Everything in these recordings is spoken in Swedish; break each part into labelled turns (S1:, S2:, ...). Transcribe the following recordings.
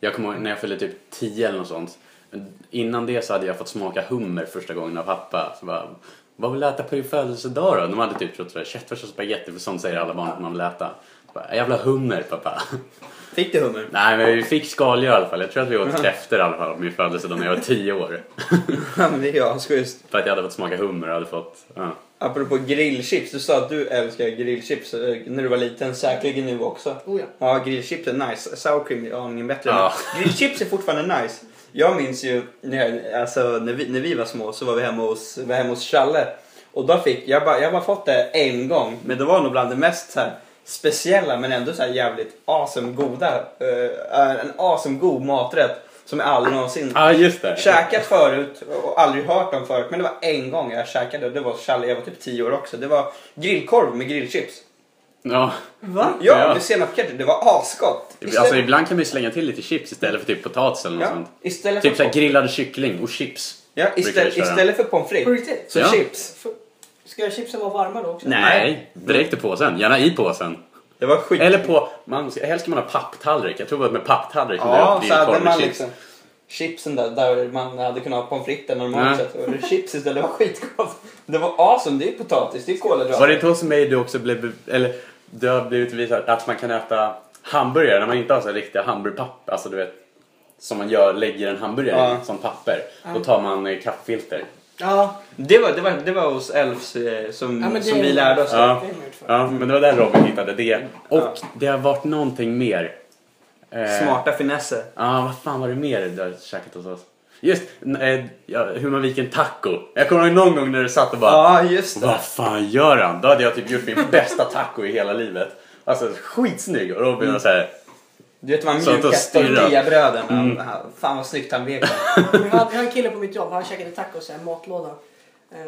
S1: Jag kommer ihåg när jag fyllde typ 10 eller något sånt. Men Innan det så hade jag fått smaka hummer första gången av pappa. Så bara, vad vill du äta på din födelsedag då? De hade typ trott sådär köttfärs och spagetti för sånt säger alla barn att man vill äta. Så bara, jag vill ha hummer pappa.
S2: Fick du hummer?
S1: Nej men vi fick skaldjur i alla fall. Jag tror att vi åt kräftor i alla fall på min födelsedag när jag var 10 år.
S2: Ja, men det är jag. Schysst.
S1: För att jag hade fått smaka hummer och hade fått... Ja.
S2: Apropå grillchips, du sa att du älskar grillchips eh, när du var liten, säkerligen nu också.
S3: Oh ja.
S2: Ja, grillchips är nice. Sour cream är aningen bättre.
S1: Ja.
S2: Men grillchips är fortfarande nice. Jag minns ju när, jag, alltså, när, vi, när vi var små så var vi hemma hos, var hemma hos Challe. Och då fick, jag bara, jag har bara fått det en gång, men det var nog bland det mest så här, speciella men ändå så här jävligt awesome goda. eh, en awesome god maträtt som jag aldrig någonsin
S1: Ja just det.
S2: Käkat förut och aldrig hört om förut men det var en gång jag käkade och det var Challe, jag var typ 10 år också. Det var grillkorv med grillchips.
S1: Ja.
S3: Va?
S2: Ja,
S1: Ja.
S2: med senapsketter. Det var asgott.
S1: Alltså ibland kan man ju slänga till lite chips istället för typ potatis eller något
S2: ja,
S1: sånt.
S2: istället
S1: Typ
S2: för,
S1: såhär grillad kyckling och chips.
S2: ja,
S1: brukar jag
S2: istället,
S1: köra.
S2: istället för pommes
S3: På
S2: frites
S3: riktigt?
S2: så
S1: Ja.
S2: chips.
S3: F- Ska chipsen vara varma då också?
S2: Mm.
S1: Nej, direkt i påsen. Gärna i påsen.
S2: Det var skit.
S1: Eller på, man, helst ska man ha papptallrik. Jag tror det var med papptallrik som det är
S2: ja,
S1: upp- det
S2: så
S1: är ju
S2: hade
S1: korv med
S2: man
S1: chips.
S2: liksom chipsen där, där man hade kunnat ha pommes frites normalt
S1: Nej.
S2: sett. Och det chips istället, det var skitgott. Det var awesome, det är potatis, det är
S1: Var
S2: kolhydrater.
S1: det inte hos mig du också blev, be- eller du har blivit visad att man kan äta hamburgare när man inte har så här riktiga hamburgerpapper, alltså du vet som man gör, lägger en hamburgare
S2: Ja.
S1: i som papper. Då tar man eh, kaffefilter.
S3: Ja,
S2: Det var, det var, det var hos Elfs eh, som,
S3: ja men det
S2: som
S3: är-
S2: vi lärde oss.
S3: Det
S2: det.
S1: Ja.
S3: är möjligt för.
S1: Ja, men det var där Robin hittade det. Och
S2: Ja.
S1: det har varit någonting mer. Eh,
S2: Smarta finesser.
S1: Ja, vad fan var det mer du har käkat hos oss? Just, n- eh, ja, hur man viker en taco. Jag kommer ihåg någon gång när du satt och bara
S2: Ja, just det.
S1: Vad fan gör han? Då hade jag typ gjort min bästa taco i hela livet. Alltså skitsnygg och Robin var såhär
S2: Du vet de här
S1: Så att de
S2: mjuka
S1: stirrar. Mm.
S2: tortillabröden. Ja, Fan vad snyggt han vek.
S3: Vi har vi har en kille på mitt jobb, han käkade tacos i en matlåda.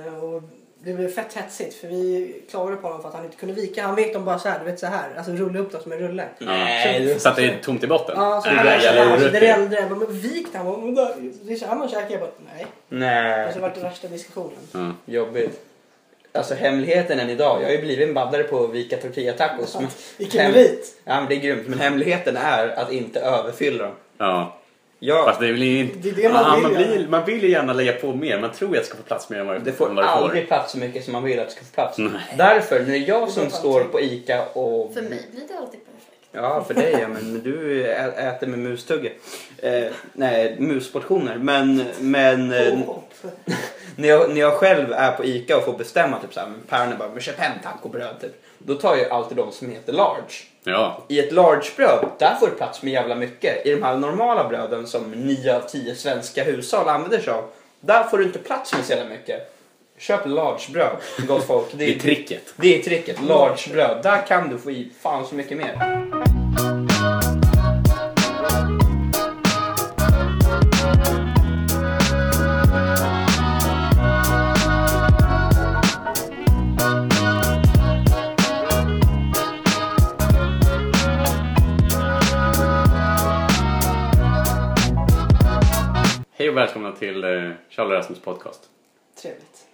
S3: Eh, Och det blev fett hetsigt för vi klagade på honom för att han inte kunde vika. Han vek dem bara så här, du vet så här. Alltså rulla upp dem som en rulle.
S2: Nej,
S1: Så att det är tomt i botten?
S3: Mm. Ja, så
S1: Det
S3: han
S1: där
S3: var så
S1: jävla
S3: här, så det
S1: orätt.
S3: rände. Jag bara, Men vik den! Han bara, men då- Det är så här man käkar. Jag bara, nej.
S2: Nej,
S3: Alltså, det var den värsta diskussionen.
S1: Ja.
S2: jobbigt. Alltså hemligheten än idag. Jag har ju blivit en baddare på att vika tortillatacos. men-
S3: Vilken merit!
S2: Ja men det är grymt. Men hemligheten är att inte överfylla dem.
S1: ja.
S2: Ja,
S1: Fast det är väl inte...
S3: Det är det man
S1: Ja,
S3: vill
S1: man,
S3: göra.
S1: blir, man vill ju gärna lägga på mer. Man tror ju att det ska få plats mer än vad
S2: det får
S1: vad
S2: aldrig plats så mycket som man vill att det ska få plats.
S1: Nej.
S2: Därför, nu är det jag
S3: Det
S2: som
S3: får
S2: står
S3: plats.
S2: på ICA och...
S4: För mig blir det alltid perfekt.
S2: Ja, för dig ja, men du ä- äter med mustugge. Eh, nej, musportioner. Men, men... eh,
S3: Påhopp.
S2: När jag, när jag själv är på ICA och får bestämma, typ såhär, men päronen bara, men köp hem tacobröd typ. Då tar jag alltid de som heter large.
S1: Ja.
S2: I ett large-bröd, där får det plats med jävla mycket. I de här normala bröden som 9 av 10 svenska hushåll använder sig av, där får du inte plats med så jävla mycket. Köp large-bröd, gott folk. Det
S1: Det är
S2: är,
S1: tricket.
S2: det är tricket, large-bröd. Där kan du få i fan så mycket mer.
S1: Hej och välkomna till eh, Charles och Rasmus podcast.
S3: Trevligt.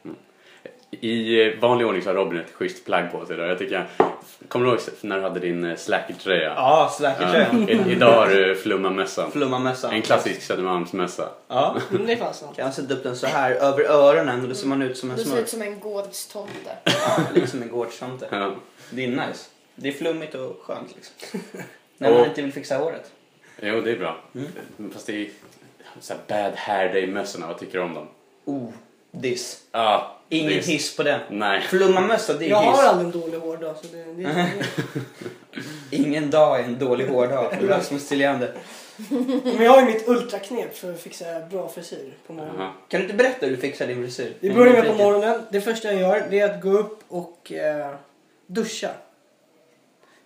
S1: I eh, vanlig ordning så har Robin ett schysst plagg på sig idag. Jag tycker jag... Kommer du ihåg när du hade din eh, slackertröja?
S2: Ja, slackertröjan.
S1: I- Idag har du flummamössan. En
S2: Flummamössan.
S1: klassisk Södermalmsmössa.
S2: Ja.
S3: Mm, Det fanns något.
S2: Kan jag sätta upp den så här över öronen och då ser man ut som en
S4: Du ser
S2: smurf.
S4: ut som en gårdstomte.
S2: Ja, liksom en gårdstomte.
S1: Ja.
S2: Det är nice. Det är flummigt och skönt liksom.
S1: När man Och-
S2: inte vill fixa håret.
S1: Jo, det är bra.
S2: Mm.
S1: Fast det är så här bad hair day-mössorna. Vad tycker du om dem?
S2: Oh, diss.
S1: Ja. det
S2: Ingen
S1: är-
S2: hiss på den.
S1: Nej.
S2: Flummamössa, det
S3: Jag
S2: är
S3: har
S2: hiss.
S3: aldrig en dålig hårdag så det, det är
S2: Ingen dag är en dålig hårdag för Rasmus Tilliander.
S3: Men jag har ju mitt ultraknep för att fixa bra frisyr på morgonen.
S1: Jaha.
S2: Kan du inte berätta hur du fixar din frisyr?
S3: Vi börjar med på
S2: Mm.
S3: morgonen. Det första jag gör det är att gå upp och eh, duscha.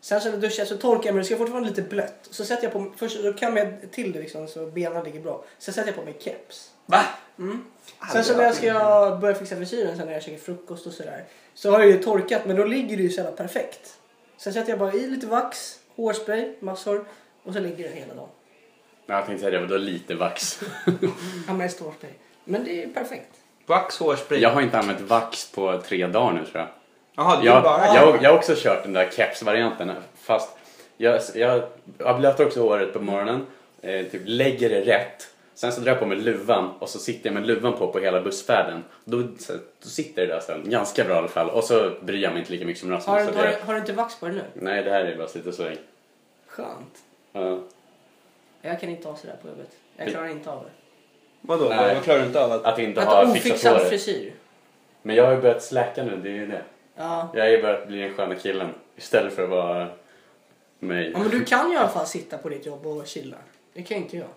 S3: Sen så när jag duschar så torkar jag mig. Det ska fortfarande vara lite blött. Så sätter jag på först då kan jag till det liksom så benen ligger bra. Sen sätter jag på mig keps.
S2: Va?
S3: Mm.
S2: Ah,
S3: Sen så när jag ska börja fixa frisyren sen när jag käkar frukost och sådär. Så har jag ju torkat men då ligger det ju så jävla perfekt. Sen sätter jag bara i lite vax, hårspray, massor och så ligger det hela dagen.
S1: Nej, Jag tänkte säga det, men då lite vax.
S3: Använder hårspray. Men det är perfekt.
S2: Vax, hårspray.
S1: Jag
S2: Jaha,
S1: har inte använt vax på tre dagar nu tror jag.
S2: det är
S1: Jag,
S2: bara...
S1: jag, jag har också kört den där kepsvarianten fast jag, jag, jag blöter också håret på morgonen. eh, typ lägger det rätt. Sen så drar jag på mig luvan och så sitter jag med luvan på på hela bussfärden. Då, så, då sitter det där sen ganska bra i alla fall. Och så bryr jag mig inte lika mycket som Rasmus.
S3: Har,
S1: så att
S3: du- har,
S1: jag,
S3: du- har du inte vax på dig nu?
S1: Nej, det här är bara sitta så länge.
S3: Skönt.
S1: Ja.
S3: Jag kan inte ha sådär på jobbet. Jag klarar inte av det.
S2: Vadå?
S1: Nej.
S2: Vad klarar du inte av? Att...
S1: Att inte
S3: Att ha
S1: ha fixat
S3: ofixad
S1: håret.
S3: frisyr.
S1: Men jag har ju börjat släcka nu, det är ju det.
S3: Ja.
S1: Jag har ju börjat bli den sköna killen istället för att vara mig.
S3: ja, men du kan ju i alla fall sitta på ditt jobb och chilla. Det kan inte jag.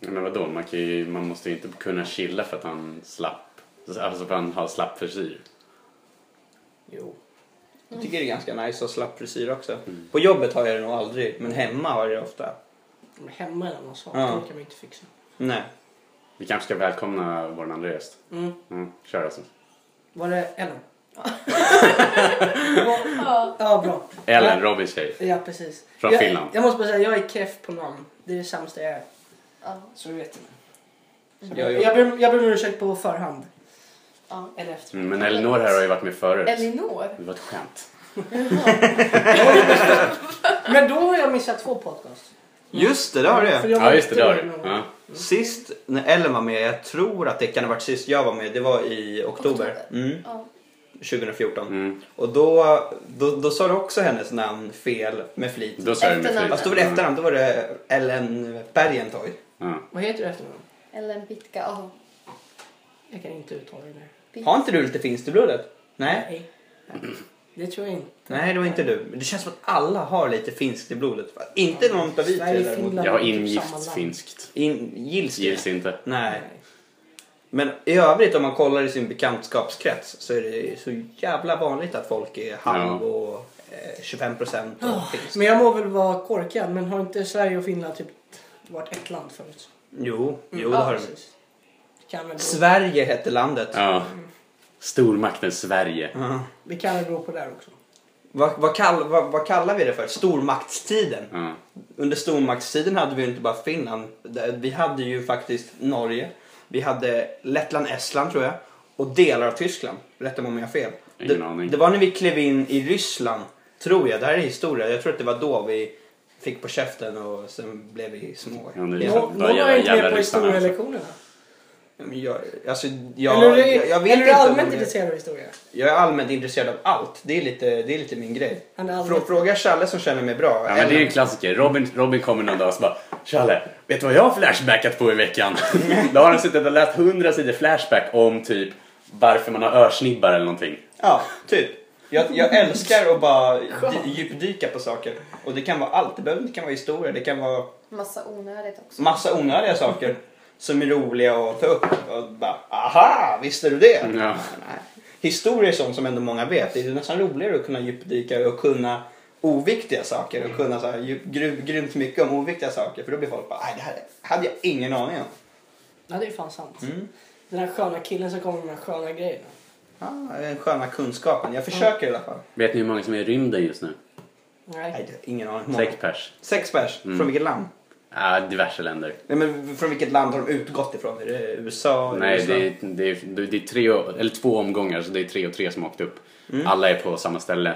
S1: Nej, Men vadå, man, kan ju, man måste ju inte kunna chilla för att han slapp. Alltså för att han har slapp frisyr.
S3: Jo.
S2: Jag tycker det är ganska nice att ha slapp frisyr också.
S3: Mm.
S2: På jobbet har jag det nog aldrig, men hemma har jag det ofta.
S3: Men hemma är en annan sak.
S2: Ja.
S3: Det kan man ju inte fixa.
S2: Nej.
S1: Vi kanske ska välkomna vår andra gäst.
S3: Mm.
S1: Mm, kör alltså.
S3: Var det Ellen?
S4: Ja.
S3: Ja, bra.
S1: Ellen, Robins tjej.
S3: Ja, precis.
S1: Från
S3: jag,
S1: Finland.
S3: Jag måste bara säga, jag är keff på namn. Det är det sämsta jag är.
S4: Ja.
S3: Så du vet det.
S2: Jag,
S3: Mm. Jag
S2: jag...
S3: ber, jag ber om ursäkt på förhand.
S4: ja.
S3: Eller efter.
S1: Mm, Men Elinor här har ju varit med förut.
S4: Elinor?
S1: Det var ett skämt.
S3: Men då har jag missat två podcasts.
S2: Just det, det har
S3: För
S2: jag.
S3: jag var
S1: Ja, just det.
S3: inte
S1: Där.
S3: med någon.
S1: Ja.
S2: Sist när Ellen var med, jag tror att det kan ha varit sist jag var med, det var i oktober.
S4: Oktober.
S2: Mm,
S4: Ja.
S2: 2014.
S1: Mm.
S2: Och då, då, då sa du också hennes namn fel med flit.
S1: Då sa jag mitt
S4: Efternamn.
S2: Fast då var det efternamn, då var det Ellen Bergentoy.
S1: Ja.
S3: Vad heter du efternamn?
S4: Ellen Bitka. Ja.
S3: Jag kan inte uttala det nu.
S2: Har inte du lite finst i blodet? Nej.
S3: Det tror jag inte.
S2: Nej, det var inte du. Men det känns som att alla har lite finskt i blodet. va? Inte någon av vi tre
S3: Sverige,
S2: däremot.
S3: Finland.
S1: Jag har
S3: Typ samma
S1: ingift
S3: land.
S1: finskt.
S2: In, gills det?
S1: Gills inte.
S2: Nej. Men i övrigt om man kollar i sin bekantskapskrets så är det så jävla vanligt att folk är halv
S1: Ja.
S2: och eh, 25 procent och finns.
S3: Men jag må väl vara korkad, men har inte Sverige och Finland typ varit ett land förut? Mm.
S2: Jo, jo det
S3: ja,
S2: har de.
S3: precis. Det kan väl bero,
S2: Sverige hette landet.
S1: Ja. Stormakten Sverige.
S2: Ja.
S3: det kan väl bero på det här också.
S2: Vad, vad, kall, vad, vad kallar vi det för? Stormaktstiden.
S1: Ja.
S2: Under stormaktstiden hade vi ju inte bara Finland. Där- Vi hade ju faktiskt Norge. Vi hade Lettland, Estland tror jag. Och delar av Tyskland. Rätta mig om jag har fel.
S1: Ingen
S2: det,
S1: aning.
S2: det var när vi klev in i Ryssland, tror jag. Det här är historia. Jag tror att det var då vi fick på käften och sen blev vi små.
S1: Ja, det är
S2: Ja,
S1: sant.
S3: Nå-
S1: Bara
S3: Någon var
S1: jävla-
S3: ju inte
S1: jävla
S3: med på
S1: ryssarna,
S3: historielektionerna.
S2: men jag, alltså, jag,
S3: eller är du-
S2: jag, jag vet
S3: eller är du
S2: inte om
S3: allmänt
S2: det-
S3: intresserad av historia?
S2: Jag är allmänt intresserad av allt. Det är lite, det är lite min grej.
S3: Han är allmänt...
S2: Frå, fråga Challe som känner mig bra.
S1: Ja, men det är ju
S2: Eller-
S1: en klassiker. Robin, Robin kommer någon dag och så bara Challe, vet du vad jag har flashbackat på i veckan? Då har han suttit och läst hundra sidor flashback om typ varför man har örsnibbar eller någonting.
S2: Ja, typ. Jag, jag älskar att bara dy- djupdyka på saker. Och det kan vara allt. Det behöver- Det kan vara historia, det kan vara
S4: Massa onödigt också.
S2: massa onödiga saker som är roliga att ta upp. Och bara, aha, visste du det?
S1: Ja.
S2: Nej. Historia är sånt som ändå många vet. Det är nästan roligare att kunna djupdyka och kunna oviktiga saker och kunna så här, djup- gry- grymt mycket om oviktiga saker. För då blir folk bara, nej det här hade jag ingen aning om.
S3: Ja, det är fan sant.
S2: Mm.
S3: Den här sköna killen som kommer med de här sköna grejerna.
S2: Ah, den sköna kunskapen. Jag försöker i alla fall.
S1: Vet ni hur många som är i rymden just nu?
S3: Nej.
S2: Nej, det har jag ingen aning. Många.
S1: Sex pers. Mm.
S2: Sex pers? Från vilket land?
S1: Ah, diverse länder.
S2: Nej, men från vilket land har de utgått ifrån? Är det USA? eller
S1: Nej, det
S2: Ryssland?
S1: är, det, är, det är tre, eller två omgångar så det är tre och tre som åkte upp.
S2: Mm.
S1: Alla är på samma ställe.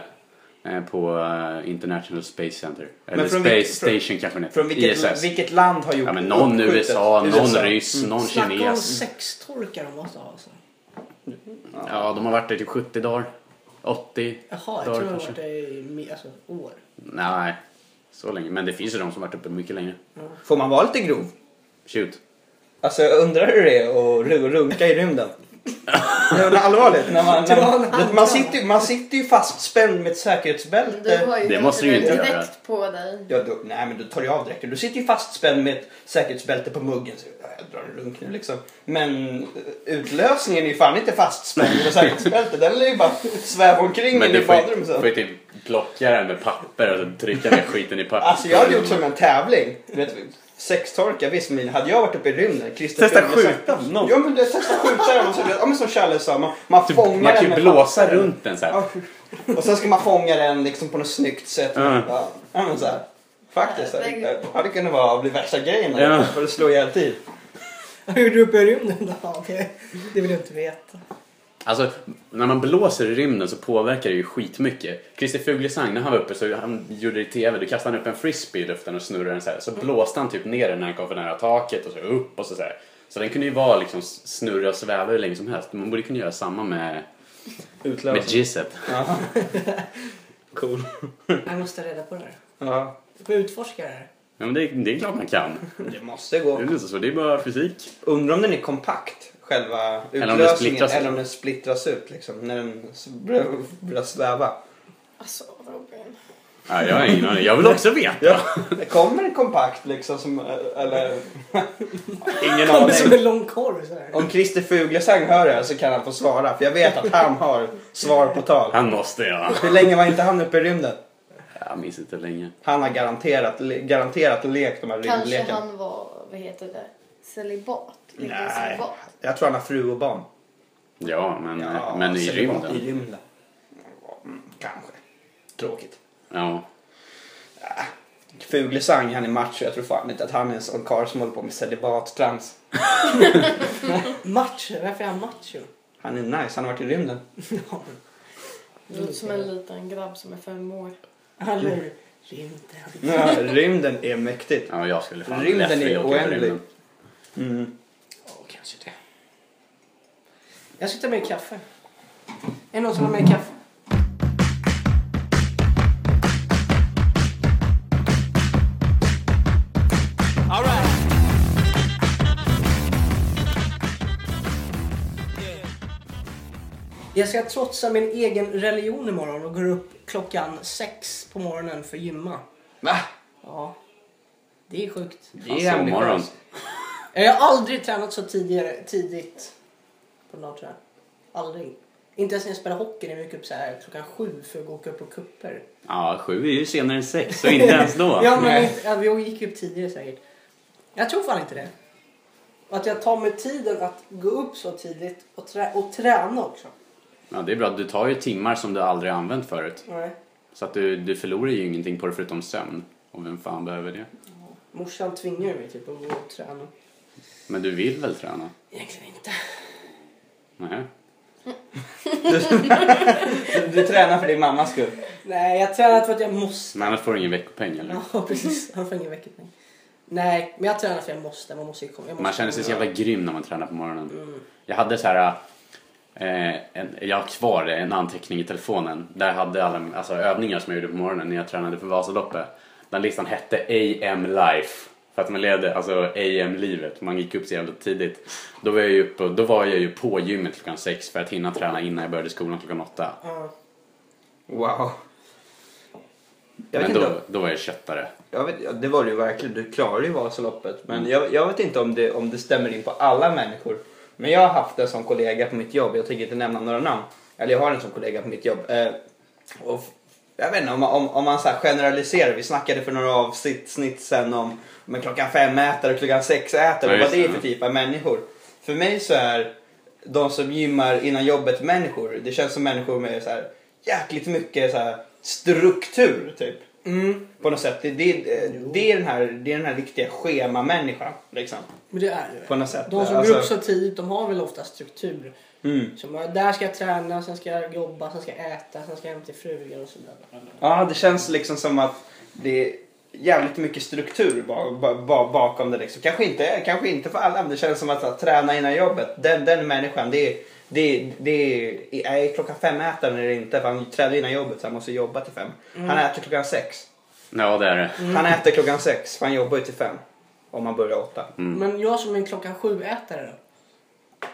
S1: Eh, På eh, International Space Center. Eller
S2: från
S1: Space
S2: vilket- från-
S1: Station kanske den
S2: Från vilket,
S1: ISS.
S2: vilket land har gjort
S1: Ja, men någon
S2: uppskjutet?
S1: USA, någon ryss, någon
S2: Mm.
S3: Snacka om
S1: kines.
S3: sextorkar de måste ha alltså.
S1: Ja, de har varit där i typ 70 dagar. 80
S3: Jaha, jag
S1: dagar
S3: tror de har
S1: kanske.
S3: varit det i mi- alltså, år.
S1: Nej, så länge. Men det finns ju de som varit uppe mycket längre.
S2: Får man vara lite grov?
S1: Shoot.
S2: Alltså jag undrar hur det är att ru- runka i rymden. Nej, men allvarligt. När man, när
S3: Dra en
S2: man,
S3: hand.
S2: man, sitter, ju- man sitter ju fastspänd med ett
S4: Men Du
S2: säkerhetsbälte.
S4: har ju
S1: Det måste du ju inte
S4: direkt
S1: göra.
S4: på dig.
S2: Ja, då, nej men du tar ju av dräkten. Du sitter ju fastspänd med ett säkerhetsbälte på muggen. Så, ja, jag drar en runk nu liksom. Men eh, utlösningen är ju fan inte fastspänd med säkerhetsbälte. Den lär ju bara sväva omkring
S1: Men
S2: i
S1: du får ju,
S2: badrummet.
S1: får ju typ plocka den med papper och så trycka ner skiten i papper.
S2: Alltså jag hade gjort som en tävling. Du Vet, sextorka, visst men hade jag varit uppe i rymden. Christer
S1: Testa
S2: Fjellner sagt-
S1: skjuta någon.
S2: Ja men det, testa skjuta den och så, ja, men som Challe sa, man, man
S1: Typ,
S2: fångar
S1: man kan
S2: den
S1: ju
S2: med
S1: blåsa
S2: papper.
S1: runt den så här.
S2: Ja. Och sen ska man fånga den liksom på något snyggt sätt.
S1: Ja.
S2: Ja, men så här. Faktiskt,
S4: Ja,
S2: det
S4: det-
S2: hade kunnat vara bli värsta grejen.
S1: Ja.
S2: För att slå ihjäl tid.
S3: Hur gjorde du uppe i rymden då? Ja, Det, det vill jag inte veta.
S1: Alltså, när man blåser i rymden så påverkar det ju skitmycket. Christer Fuglesang, när han var uppe så han gjorde det i TV, då kastade han upp en frisbee i luften och snurrade den så här. Så
S2: Mm.
S1: blåste han typ ner den när han kom för nära taket och så upp och så, så här. Så den kunde ju vara liksom snurra och sväva hur länge som helst. Man borde kunna göra samma med, med
S2: Utlösning.
S1: Gisset.
S2: Ja. Cool.
S3: Jag måste ta reda på det här.
S2: Ja.
S3: Du får utforska det här.
S1: Ja, men det, det är klart man kan.
S2: Det måste
S1: Det
S2: gå.
S1: är, inte så, det är bara fysik.
S2: Undrar om den är kompakt, själva
S1: den
S2: utlösningen,
S1: splittras ut.
S2: eller om den splittras ut liksom, när den s- börjar börjar sväva.
S4: Alltså Robin.
S1: Ja, jag har ingen aning. Jag vill också veta.
S2: Ja. Det kommer en kompakt liksom, som, eller... Ingen
S3: Kommer
S2: aning.
S3: som en lång korv sådär.
S2: Om Christer Fuglesang hör det här så kan han få svara, för jag vet att han har svar på tal.
S1: Han måste ja.
S2: Hur länge var inte han uppe i rymden?
S1: Jag minns inte hur länge.
S2: Han har garanterat, garanterat lekt de här
S4: Kanske
S2: rymdlekarna.
S4: han var, vad heter det, celibat? Lite
S2: Nej,
S4: celibat.
S2: jag tror han har fru och barn.
S1: Ja, men,
S2: Ja,
S1: men i
S2: så det var I
S1: rymden.
S2: rymden. Mm, Kanske. Tråkigt.
S1: Ja.
S2: Fuglesang, han är macho. Jag tror fan inte att han är en sån karl som håller på med celibat-trams.
S3: Macho, varför är han macho?
S2: Han är nice, han har varit i rymden.
S4: Det låter som
S1: Mm.
S4: en liten grabb som är fem år.
S3: Han lär rymden.
S2: Ja, rymden är mäktigt.
S1: ja, jag skulle fan
S2: Rymden
S1: lätt vilja
S2: är
S1: åka till
S2: oändlig.
S1: rymden.
S2: Mm.
S3: Ja, kanske det. Jag ska ta med kaffe. Är det någon som har med kaffe? Jag ska trotsa min egen religion imorgon och går upp klockan sex på morgonen för gymma.
S2: Va?
S3: Ja, det är sjukt.
S2: Det
S1: Fan, sovmorgon.
S2: ambitiöst.
S3: Jag
S1: Eh.
S3: har aldrig tränat så tidigare, tidigt på dagen tror jag. Aldrig. Inte ens när jag spelade hockey när jag gick upp så här klockan sju för att gå och åka upp på kupper.
S1: Ja, sju är ju senare än sex, så inte ens då.
S3: ja, men
S2: Nej.
S3: inte, ja, vi gick upp tidigare säkert. Jag tror fan inte det. Och Att jag tar mig tiden att gå upp så tidigt och, trä- och träna också.
S1: Ja, det är bra. Du tar ju timmar som du aldrig använt förut.
S3: Nej.
S1: Så att du, du förlorar ju ingenting på det förutom sömn. Och vem fan behöver det?
S3: Morsan tvingar mig typ att gå och träna.
S1: Men du vill väl träna?
S3: Egentligen inte.
S1: Nej.
S2: Du, du tränar för din mammas skull.
S3: Nej, jag tränar för att jag måste.
S1: Men annars får du ingen veckopeng eller?
S3: Ja, precis. Han får ingen väckning. Nej, men jag tränar för att jag måste. Man måste ju komma. Jag måste
S1: Man känner sig så
S3: komma.
S1: jävla grym när man tränar på morgonen. Jag hade så här... Eh, en, jag har kvar en anteckning i telefonen. Där jag hade alla alltså, övningar som jag gjorde på morgonen när jag tränade för Vasaloppet. Den listan hette AM Life. För att man levde alltså AM-livet. Man gick upp så jävla tidigt. Då var jag ju, uppe, och- då var jag ju på gymmet klockan sex för att hinna träna innan jag började skolan klockan åtta.
S3: Ja.
S2: Wow. Jag vet
S1: Men
S2: inte
S1: då, då var jag köttare.
S2: Jag vet, ja, det var det ju verkligen. Du klarade ju Vasaloppet. Men jag, jag vet inte om det, om det stämmer in på alla människor. Men jag har haft en sån kollega på mitt jobb. Jag tänker inte nämna några namn. Eller jag har en sån kollega på mitt jobb. Eh, och f- jag vet inte om, man- om, om man så här generaliserar. Vi snackade för några avsnitt sen om, om en klockan fem äter och klockan sex äter.
S1: Ja,
S2: och vad
S1: just
S2: det är
S1: det.
S2: för typ av människor. För mig så är de som gymmar innan jobbet människor. Det känns som människor med så här, jäkligt mycket så här, struktur typ.
S3: Mm,
S2: På något sätt. Det, det, det, är, den här, det är den här riktiga schemamänniskan. Liksom,
S3: men det är det.
S2: på något sätt.
S3: De som
S2: Alltså,
S3: går upp så tidigt de har väl ofta struktur.
S2: mm.
S3: Som, ja, där ska jag träna, sen ska jag jobba, sen ska jag äta, sen ska jag hem till frugan och sådär.
S2: Ja, det känns liksom som att det är jävligt mycket struktur ba, ba, ba, bakom det. Liksom. Kanske, inte, kanske inte för alla, men det känns som att, att träna innan jobbet. Den, den människan, det är... Det, det är, är klockan fem äter han eller inte för han tränar innan jobbet så han måste jobba till fem.
S3: Mm.
S2: Han äter klockan sex.
S1: Ja, det är det.
S2: Han äter klockan sex för han jobbar ju till fem. Om han börjar åtta.
S3: Men jag som är en klockan sju-ätare då?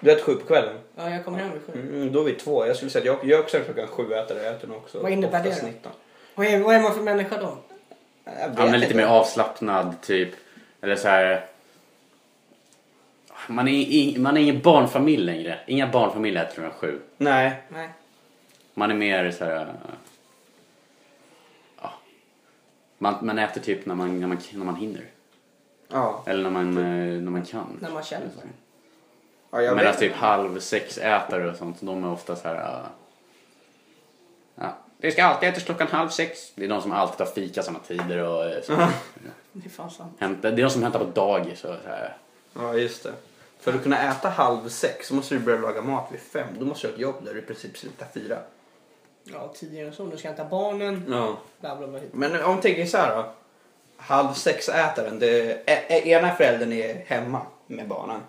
S2: Du äter sju på kvällen.
S3: Ja, jag kommer hem vid sju.
S2: Mm, då är vi två. Jag skulle säga att jag, jag också är klockan sju äter jag äter nog också.
S3: Vad innebär
S2: oftast
S3: det då?
S2: 19.
S3: Vad, är, vad är man för människa då?
S2: Jag
S1: Han
S2: vet
S1: är
S2: inte.
S1: lite mer avslappnad typ. Eller så här. Man är, i- man är ingen barnfamilj längre. Inga barnfamiljer äter klockan sju.
S2: Nej.
S3: Nej.
S1: Man är mer så här. äh, ja. Man, man äter typ när man, när, man, när man hinner.
S2: Ja.
S1: Eller när man, eh, när man kan.
S3: När man känner för det.
S2: ja jag
S1: Medan
S2: vet.
S1: typ halv sex ätare och sånt, de är ofta så här. äh, Ja. Det ska alltid ätas klockan halv sex. Det är de som alltid tar fika samma tider och eh, så.
S3: Det är fan sant.
S1: Hämta, det är de som hämtar på dagis och så här.
S2: Ja, just det. För att kunna äta halv sex så måste du börja laga mat vid fem. Då måste du ha ett jobb där du i princip slutar fyra.
S3: Ja, tidigare än så. Du ska hämta barnen.
S2: Ja.
S3: Bla, bla, bla.
S2: Men om vi tänker så här då. Halv sex-ätaren, det- e- e- ena föräldern är hemma med barnen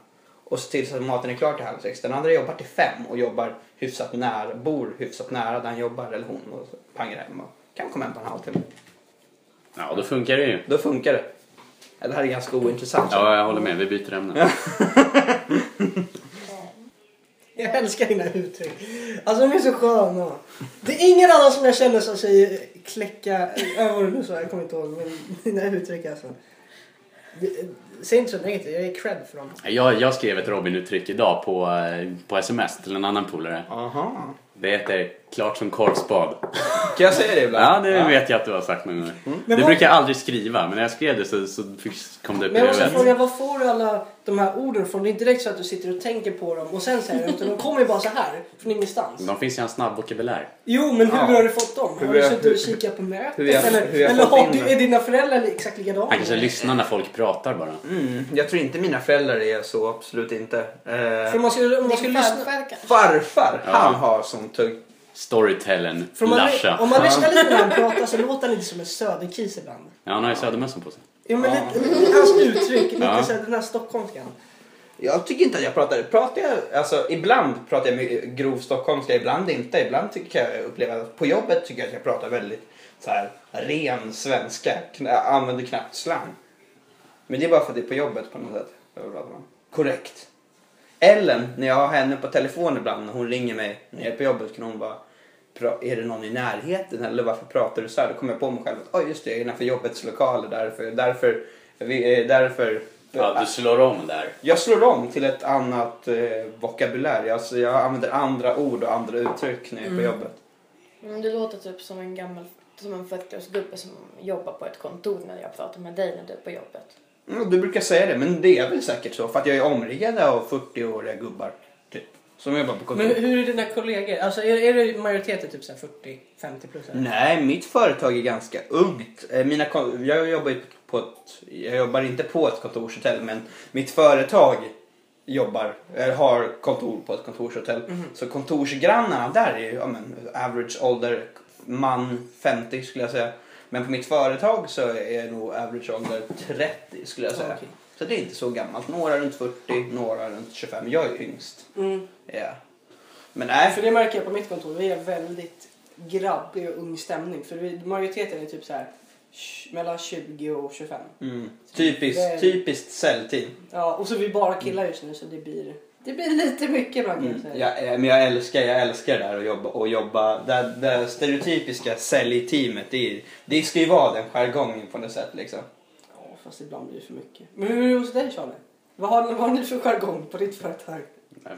S2: och ser till så att maten är klar till halv sex. Den andra jobbar till fem och jobbar hyfsat nära, bor hyfsat nära där han jobbar eller hon och så pangar hem och kan komma hem på en halvtimme.
S1: Ja, då funkar det ju.
S2: Då funkar det. Ja, Det här är ganska ointressant.
S1: Ja, jag håller med. Vi byter ämne.
S3: Jag älskar dina uttryck. Alltså de är så sköna. Det är ingen annan som jag känner som säger kläcka... Äh, vad du nu sa, jag kommer inte ihåg. Men dina uttryck alltså. Det- Säg inte så negativt, jag är cred för dem.
S1: Jag, jag skrev ett Robin-uttryck idag på, eh, på sms till en annan polare.
S2: Aha.
S1: Det heter klart som korvspad.
S2: Kan jag säga det ibland?
S1: Ja, det vet jag att du har sagt någon gång. Det
S3: Mm. Men vad-
S1: brukar jag aldrig skriva, men när jag skrev det så, så fick- kom det upp i
S3: Men jag måste
S1: huvudet.
S3: fråga, var får du alla de här orden från? Det är inte direkt så att du sitter och tänker på dem och sen säger du utan de kommer ju bara så här från ingenstans.
S1: De finns i hans snabbvokabulär.
S3: Jo, men hur
S2: Ja.
S3: har du fått dem?
S2: Hur
S3: Har du
S2: jag-
S3: suttit och
S2: hur-
S3: kikat på mötet?
S2: hur jag-
S3: Eller,
S2: hur jag
S3: eller
S2: fått
S3: har
S2: in
S3: du,
S2: det.
S3: är dina föräldrar exakt likadana?
S1: Han kanske lyssnar när folk pratar bara.
S2: Mm, jag tror inte mina föräldrar är så, absolut inte. Eh,
S3: För om man skulle, om man skulle
S4: Din
S3: lyssna...
S4: farfar kanske?
S2: farfar,
S1: Ja.
S2: han har sån tugg.
S1: Storytellen,
S3: För om man, om
S1: Larsa.
S3: man lyssnar lite när han pratar så låter han lite som en söderkis ibland.
S1: Ja, han har ju södermössan på sig.
S3: Jo men lite, hans uttryck, lite
S1: Ja.
S3: såhär den här stockholmskan.
S2: Jag tycker inte att jag pratar, pratar jag, alltså ibland pratar jag mycket grov stockholmska, ibland inte. Ibland tycker jag uppleva, på jobbet tycker jag att jag pratar väldigt så här ren svenska, Kn- jag använder knappt slang. Men det är bara för att det är på jobbet på något sätt. Jag pratar om. Korrekt. Ellen, när jag har henne på telefon ibland, när hon ringer mig när jag är på jobbet, kan hon bara "Pra- är det någon i närheten eller varför pratar du så här? Då kommer jag på mig själv att oh, just det, jag är innanför jobbets lokaler därför, därför, vi- eh, därför
S1: Ja, du slår om där.
S2: jag slår om till ett annat eh, vokabulär. Jag, alltså, jag använder andra ord och andra uttryck när jag är
S3: Mm.
S2: på jobbet.
S4: Men du låter typ som en gammal som en 40-årsgubbe som jobbar på ett kontor när jag pratar med dig när du är på jobbet.
S2: Mm, du brukar säga det, men det är väl säkert så. För att jag är omringad av 40-åriga gubbar. Typ, som jobbar på kontor.
S3: Men hur är dina kollegor? Alltså är, är det majoriteten typ såhär 40-50 plus? eller?
S2: Nej, mitt företag är ganska ungt. Eh, Mina, kon- jag, jobbar ju på ett, jag jobbar inte på ett kontorshotell, men mitt företag jobbar, eller har kontor på ett kontorshotell.
S3: Mhm.
S2: Så kontorsgrannarna där är ju ja, men, average ålder, man 50 skulle jag säga. Men på mitt företag så är nog average ålder 30 skulle jag säga.
S3: Okej.
S2: Så det är inte så gammalt. Några runt 40, några runt 25. Jag är yngst.
S3: Mm.
S2: Ja. Men äh, nej,
S3: För det märker jag på mitt kontor, vi är väldigt grabbig och ung stämning. För vi, majoriteten är typ såhär tj- mellan 20 och 25.
S2: mm, typiskt,
S3: Det-
S2: typiskt säljteam.
S3: Ja, och så är vi bara killar just nu så det blir, det blir lite mycket ibland kan jag säga.
S2: Ja, eh, men jag älskar, jag älskar det här att jobba. Och jobba det, det stereotypiska säljteamet, det, är- det ska ju vara den jargongen på något sätt. Liksom.
S3: Ja, fast ibland blir det för mycket. Men hur är det hos dig Charlie? Vad har, vad har ni för jargong på ditt företag?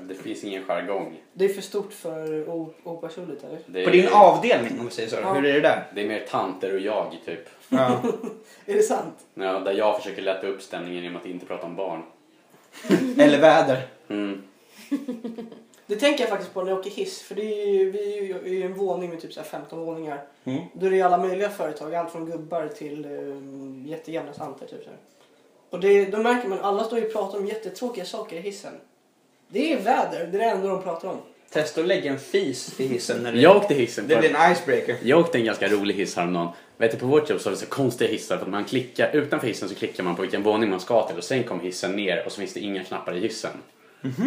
S1: Det finns ingen jargong.
S3: Det är för stort för o- opersonligt eller?
S1: Det
S2: På din
S1: är,
S2: avdelning om vi säger så,
S3: Ja.
S2: hur är det där?
S1: det är mer tanter och jag, typ.
S2: Ja.
S3: Är det sant?
S1: Ja, där jag försöker lätta upp stämningen genom att inte prata om barn.
S2: Eller väder.
S1: Mm.
S3: Det tänker jag faktiskt på när jag åker hiss. För det är ju, vi är ju i en våning med typ så här 15 våningar.
S2: Mm.
S3: Då är det ju alla möjliga företag. Allt från gubbar till um, jättejämna tanter. Typ så här. Och det, då märker man alla står ju och pratar om jättetråkiga saker i hissen. Det är väder. Det är det enda de pratar om.
S2: Testa att lägga en fis i hissen när det,
S1: Jag åkte hissen
S2: det
S1: på
S2: blir en icebreaker.
S1: Jag åkte en ganska rolig hiss häromdagen. Vet du, på vårt jobb så har vi så konstiga hissar för att man klickar, utanför hissen så klickar man på vilken våning man ska till och sen kommer hissen ner och så finns det inga knappar i hissen.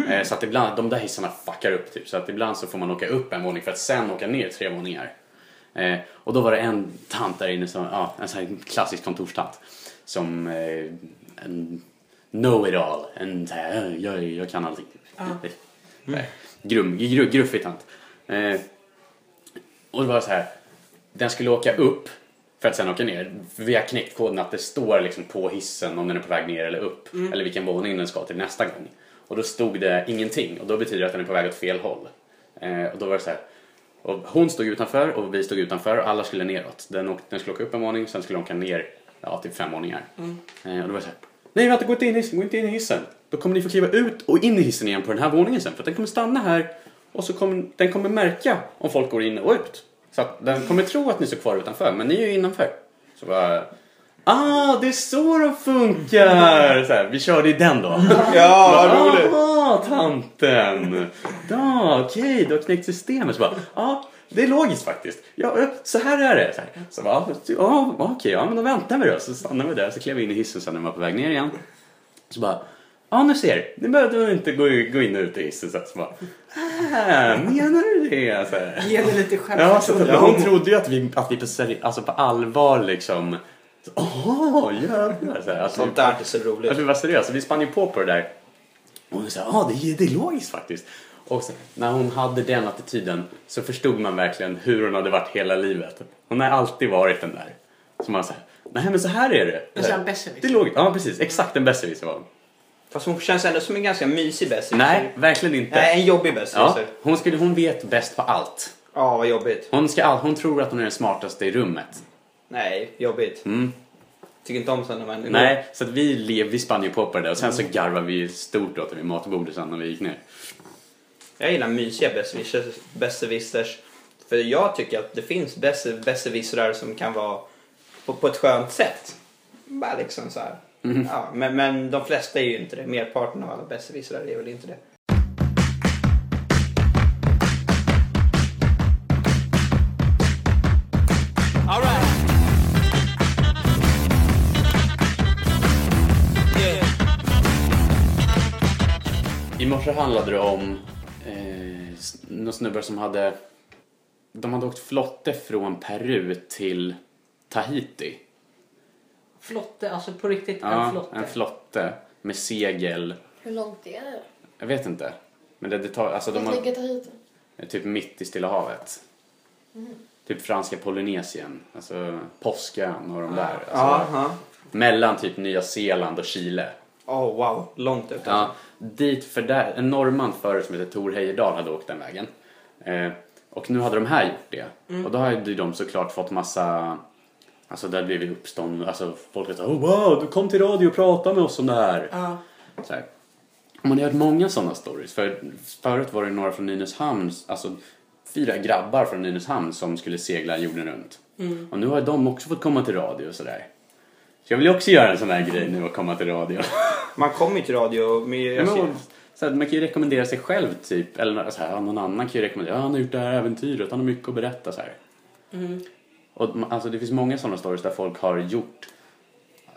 S1: Eh, Så att ibland, de där hissarna fuckar upp typ. Så att ibland så får man åka upp en våning för att sen åka ner tre våningar. Eh, och då var det en tant där inne, som, ja, en sån här klassisk kontorstant, som eh, en know it all. En så här, "Eh, jag, jag kan allting. Typ. Mm. Grum, gru, gruffig tant. Eh, och det var så här, den skulle åka upp för att sen åka ner. Vi har knäckt koden att det står liksom på hissen om den är på väg ner eller upp. Eller vilken våning den ska till nästa gång. Och då stod det ingenting och då betyder det att den är på väg åt fel håll. Eh, och då var det så här. Och hon stod utanför och vi stod utanför och alla skulle neråt. Den, åkte, den skulle åka upp en våning sen skulle de åka ner ja, typ fem våningar. Eh, och då var det så här. Nej vänta, gå inte in i hissen, gå inte in i hissen. Då kommer ni få kliva ut och in i hissen igen på den här våningen sen. För att den kommer stanna här och så kommer den kommer märka om folk går in och ut. Så att den kommer tro att ni står kvar utanför, men ni är ju innanför. Så bara, Ah, det är så de funkar! Så här, vi körde i den då.
S2: Ja, vad roligt!
S1: Aha, tanten! Ja, okej, du har knäckt systemet. Så bara, ja, det är logiskt faktiskt. Ja, ja, så här är det. Så, här. så bara, ja, okej, ja, men då väntar vi då. Så stannade vi där, så klev vi in i hissen sen när vi var på väg ner igen. Så bara, ja nu ser, nu behövde vi inte gå, gå in och ut i hissen. Så, här, så bara, äh, menar du det? Så här.
S3: Ge dig lite
S1: Ja, så,
S3: självförtroende.
S1: hon trodde ju att vi, att vi på, seri- alltså, på allvar liksom, så, åh, jävlar. Så här, alltså,
S2: Sånt där är inte så roligt.
S1: Alltså vi var seriösa, vi spann ju på på det där. Och hon sa, ja ah, det, är- det är logiskt faktiskt. Och sen, när hon hade den attityden så förstod man verkligen hur hon hade varit hela livet. Hon har alltid varit den där. Så man säger, nej men så här är det.
S3: En sån här besserwisser.
S1: Det är logiskt, ja precis, exakt en besserwisser var hon.
S2: Fast hon känns ändå som en ganska mysig besserwisser.
S1: Nej, verkligen inte.
S2: Nej, en jobbig
S1: ja,
S2: besserwisser. Ja.
S1: hon, skulle, hon vet bäst på allt.
S2: vad jobbigt.
S1: Hon, ska, all- hon tror att hon är den smartaste i rummet.
S2: Nej, jobbigt.
S1: Mm.
S2: Tycker inte om sådana människor.
S1: Nej, så att vi, lev, vi spann ju på på det där och sen så garvade vi stort åt det vid matbordet sen när vi gick ner.
S2: Jag gillar mysiga besserwissers- besserwissers. För jag tycker att det finns besser- besserwissrar som kan vara på, på ett skönt sätt. Bara liksom så här. Ja, men, men de flesta är ju inte det. Merparten av alla besserwissrar är väl inte det.
S5: All right. Yeah.
S1: I morse handlade det om eh, s- några snubbar som hade... De hade åkt flotte från Peru till Tahiti.
S3: Flotte, alltså på riktigt
S1: Ja,
S3: en flotte.
S1: en flotte med segel.
S4: Hur långt är det?
S1: Jag vet inte. Men det, det tar, alltså de
S4: Vart
S1: har,
S4: ligger Tahiti?
S1: är typ mitt i Stilla havet.
S3: Mm.
S1: Typ franska Polynesien, alltså Påskön och de där.
S3: Ah.
S1: Alltså,
S2: Aha.
S1: mellan typ Nya Zeeland och Chile.
S2: Oh wow, långt ut.
S1: Ja, Alltså, dit för där, en norrman förut som heter Tor Heyerdahl hade åkt den vägen. Eh, och nu hade de här gjort det. Och då hade ju de såklart fått massa, alltså det hade blivit uppstånd, alltså folk hade sagt oh, wow, du kom till radio och pratade med oss om det här.
S3: Ja.
S1: Så här. Och Man har hört många sådana stories. För, förut var det några från Nynäshamn, alltså fyra grabbar från Nynäshamn som skulle segla jorden runt.
S3: mm.
S1: Och nu har de också fått komma till radio och sådär. Så jag vill ju också göra en sån här grej nu och komma till radio.
S2: Man kommer ju till radio med...
S1: Ja,
S2: Jag
S1: men,
S2: ser-
S1: och, så att man kan ju rekommendera sig själv typ, eller så här, ja, någon annan kan ju rekommendera, ja, han har gjort det här äventyret, han har mycket att berätta så här. Och ma- alltså, det finns många sådana stories där folk har gjort,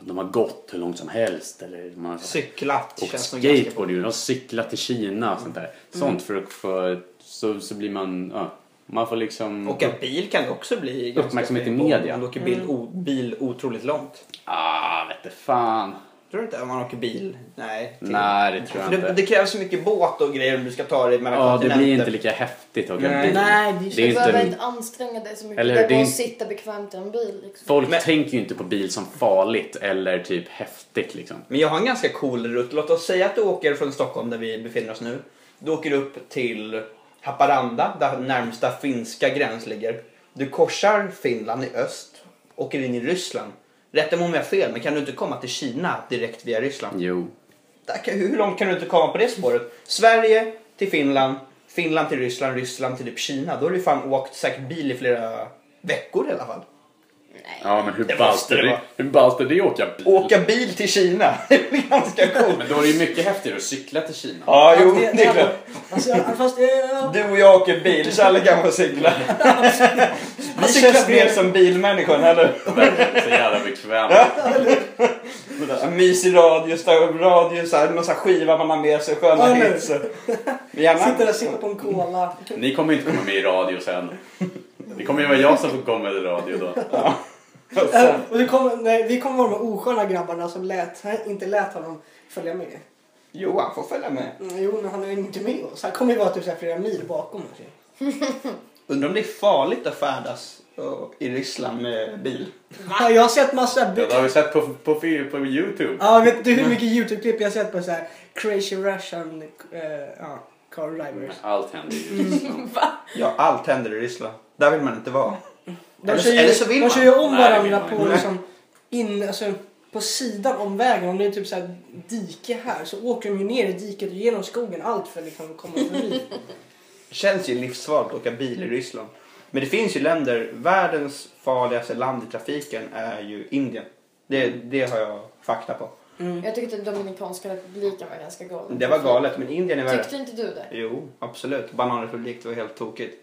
S1: de har gått hur långt som helst eller man har
S2: Cyklat
S1: åkt
S2: känns som ganska
S1: skateboard, de har cyklat till Kina och sånt där. Sånt för att få, så, så blir man, ja, man får liksom...
S2: Åka bil kan det också bli ganska
S1: Uppmärksamhet i
S2: mycket.
S1: media.
S2: Om du åker bil, o, bil otroligt långt.
S1: Ah, vete fan.
S2: Tror du inte att man åker bil? Nej. till-
S1: Nej, det tror jag
S2: För det,
S1: inte.
S2: det krävs så mycket båt och grejer om du ska ta dig mellan
S1: Ja, det
S2: kontinenter.
S1: blir inte lika häftigt att åka
S2: Nej.
S1: bil.
S3: Nej, det är
S1: det är
S4: Du behöver
S1: inte...
S4: inte anstränga dig så mycket.
S1: Eller
S4: det är
S1: det är
S4: bara att
S1: inte-
S4: sitta bekvämt i en bil. Liksom.
S1: Folk
S2: Men-
S1: tänker ju inte på bil som farligt eller typ häftigt liksom.
S2: Men jag har en ganska cool rutt. Låt oss säga att du åker från Stockholm där vi befinner oss nu. Du åker upp till Haparanda där närmsta finska gräns ligger. Du korsar Finland i öst, åker in i Ryssland. Rätta mig om jag har fel, men kan du inte komma till Kina direkt via Ryssland?
S1: Jo.
S2: Där kan- Hur långt kan du inte komma på det spåret? Sverige till Finland, Finland till Ryssland, Ryssland till typ Kina. Då har du fan åkt säkert bil i flera veckor i alla fall.
S1: Ja men hur
S2: Det
S1: ballt
S2: måste
S1: är
S2: det
S1: det?
S2: vara.
S1: Hur ballt är det att åka bil?
S2: Åka bil till Kina, det är ganska coolt.
S1: Men då är det ju mycket häftigare att cykla till Kina.
S2: Ja, jo,
S3: det-
S2: det är klart.
S3: Alltså, jag- fast, eh, ja.
S2: Du och jag åker bil, Challe kan få cykla. Vi känns mer som bilmänniskan, eller
S1: Så jävla bekvämt.
S2: En mysig radio, stav- radio så här, någon sån här skiva man har med sig, sköna
S3: Ja, nu.
S2: hits. Gärna.
S3: Sitter där och sippar på en cola.
S1: Ni kommer ju inte komma med i radio sen. Det kommer ju vara jag som får komma i radio då.
S3: Eh, och det kommer, nej, vi kommer vara de osköna grabbarna som lät, inte lät honom följa med.
S2: Johan får följa med.
S3: Mm, jo, men han är ju inte med oss. Han kommer ju vara typ så här flera mil bakom oss. ju.
S2: Undrar om det är farligt att färdas och- i Ryssland med bil.
S3: Ja, jag har sett massa...
S1: Ja,
S3: bi-
S1: Det har vi sett på, på, film- på Youtube.
S3: Ja, vet du hur mycket YouTube-klipp jag har sett på så här crazy russian eh, ja, car drivers?
S1: Allt händer ju i Ryssland.
S2: Ja, allt händer i Ryssland. Där vill man inte vara.
S3: De
S2: Eller-
S3: kör ju,
S2: eller så vill
S3: de
S2: man.
S3: kör ju om
S1: Nej, det vill
S3: varandra
S1: man
S3: på,
S1: inte.
S3: liksom, in, alltså, på sidan om vägen. Om det är typ så här dike här så åker de ju ner i diket och genom skogen. Allt för liksom, att komma förbi.
S2: känns ju livsfarligt att åka bil i Ryssland. Men det finns ju länder, världens farligaste land i trafiken är ju Indien. Det, det har jag fakta på.
S3: Mm.
S4: Jag tyckte Dominikanska republiken var ganska galen.
S2: Det var galet, men Indien är värre.
S4: Tyckte inte du det?
S2: Jo, absolut. Bananrepublik, det var helt tokigt.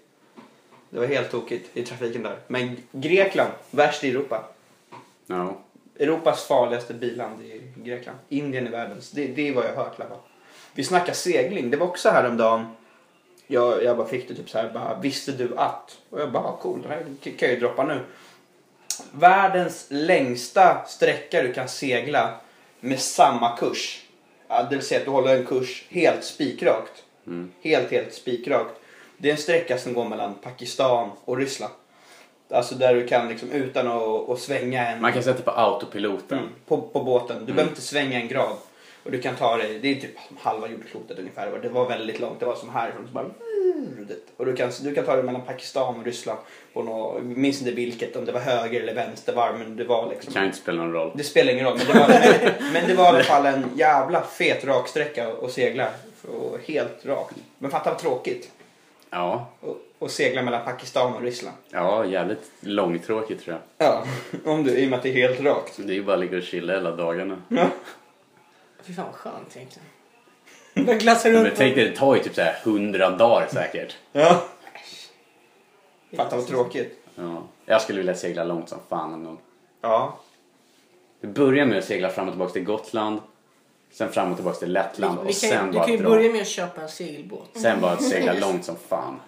S2: Det var helt tokigt i trafiken där. Men Grekland, värst i Europa.
S1: Ja.
S2: Europas farligaste biland i Grekland. Indien är världens. Det, det är vad jag har hört i alla fall. Vi snackar segling. Det var också häromdagen. Jag, jag bara fick det typ så här. Bara, Visste du att? Och jag bara, "Ah, cool. Det här k- kan jag ju droppa nu. Världens längsta sträcka du kan segla med samma kurs. Ja, det vill säga att du håller en kurs helt spikrakt.
S1: Mm.
S2: Helt, helt spikrakt. Det är en sträcka som går mellan Pakistan och Ryssland. Alltså där du kan liksom utan att, att svänga en...
S1: Man kan sätta på autopiloten.
S2: Mm. På, på båten. Du behöver inte svänga en grad. Och du kan ta dig, det är typ halva jordklotet ungefär. Och det var väldigt långt, det var som härifrån. Så bara, och du kan, du kan ta dig mellan Pakistan och Ryssland. På nå, jag minns inte vilket, om det var höger eller vänstervarv. Men det var
S1: Det
S2: liksom...
S1: kan inte spela någon roll.
S2: Det spelar ingen roll. Men det var, men, men det var i alla fall en jävla fet raksträcka att segla. Och helt rakt. Men fatta vad tråkigt.
S1: Ja,
S2: Och, och segla mellan Pakistan och Ryssland.
S1: ja jävligt långtråkigt tror jag.
S2: Ja, om du, i och med att det är helt rakt.
S1: Det är ju bara att ligga och chilla hela dagarna.
S3: Fy fan vad skönt egentligen. Man glassar runt.
S1: Men tänk dig, det tar ju typ så här 100 dagar säkert.
S2: Ja. Fatta vad tråkigt.
S1: Ja. Jag skulle vilja segla långt som fan någon gång.
S2: Ja,
S1: Vi börjar med att segla fram och tillbaka till Gotland. Sen fram och tillbaka till Lettland
S3: Vi
S1: och
S3: kan,
S1: sen
S3: du
S1: bara
S3: kan ju
S1: dra.
S3: börja med att köpa en segelbåt.
S1: Sen bara att segla långt som fan.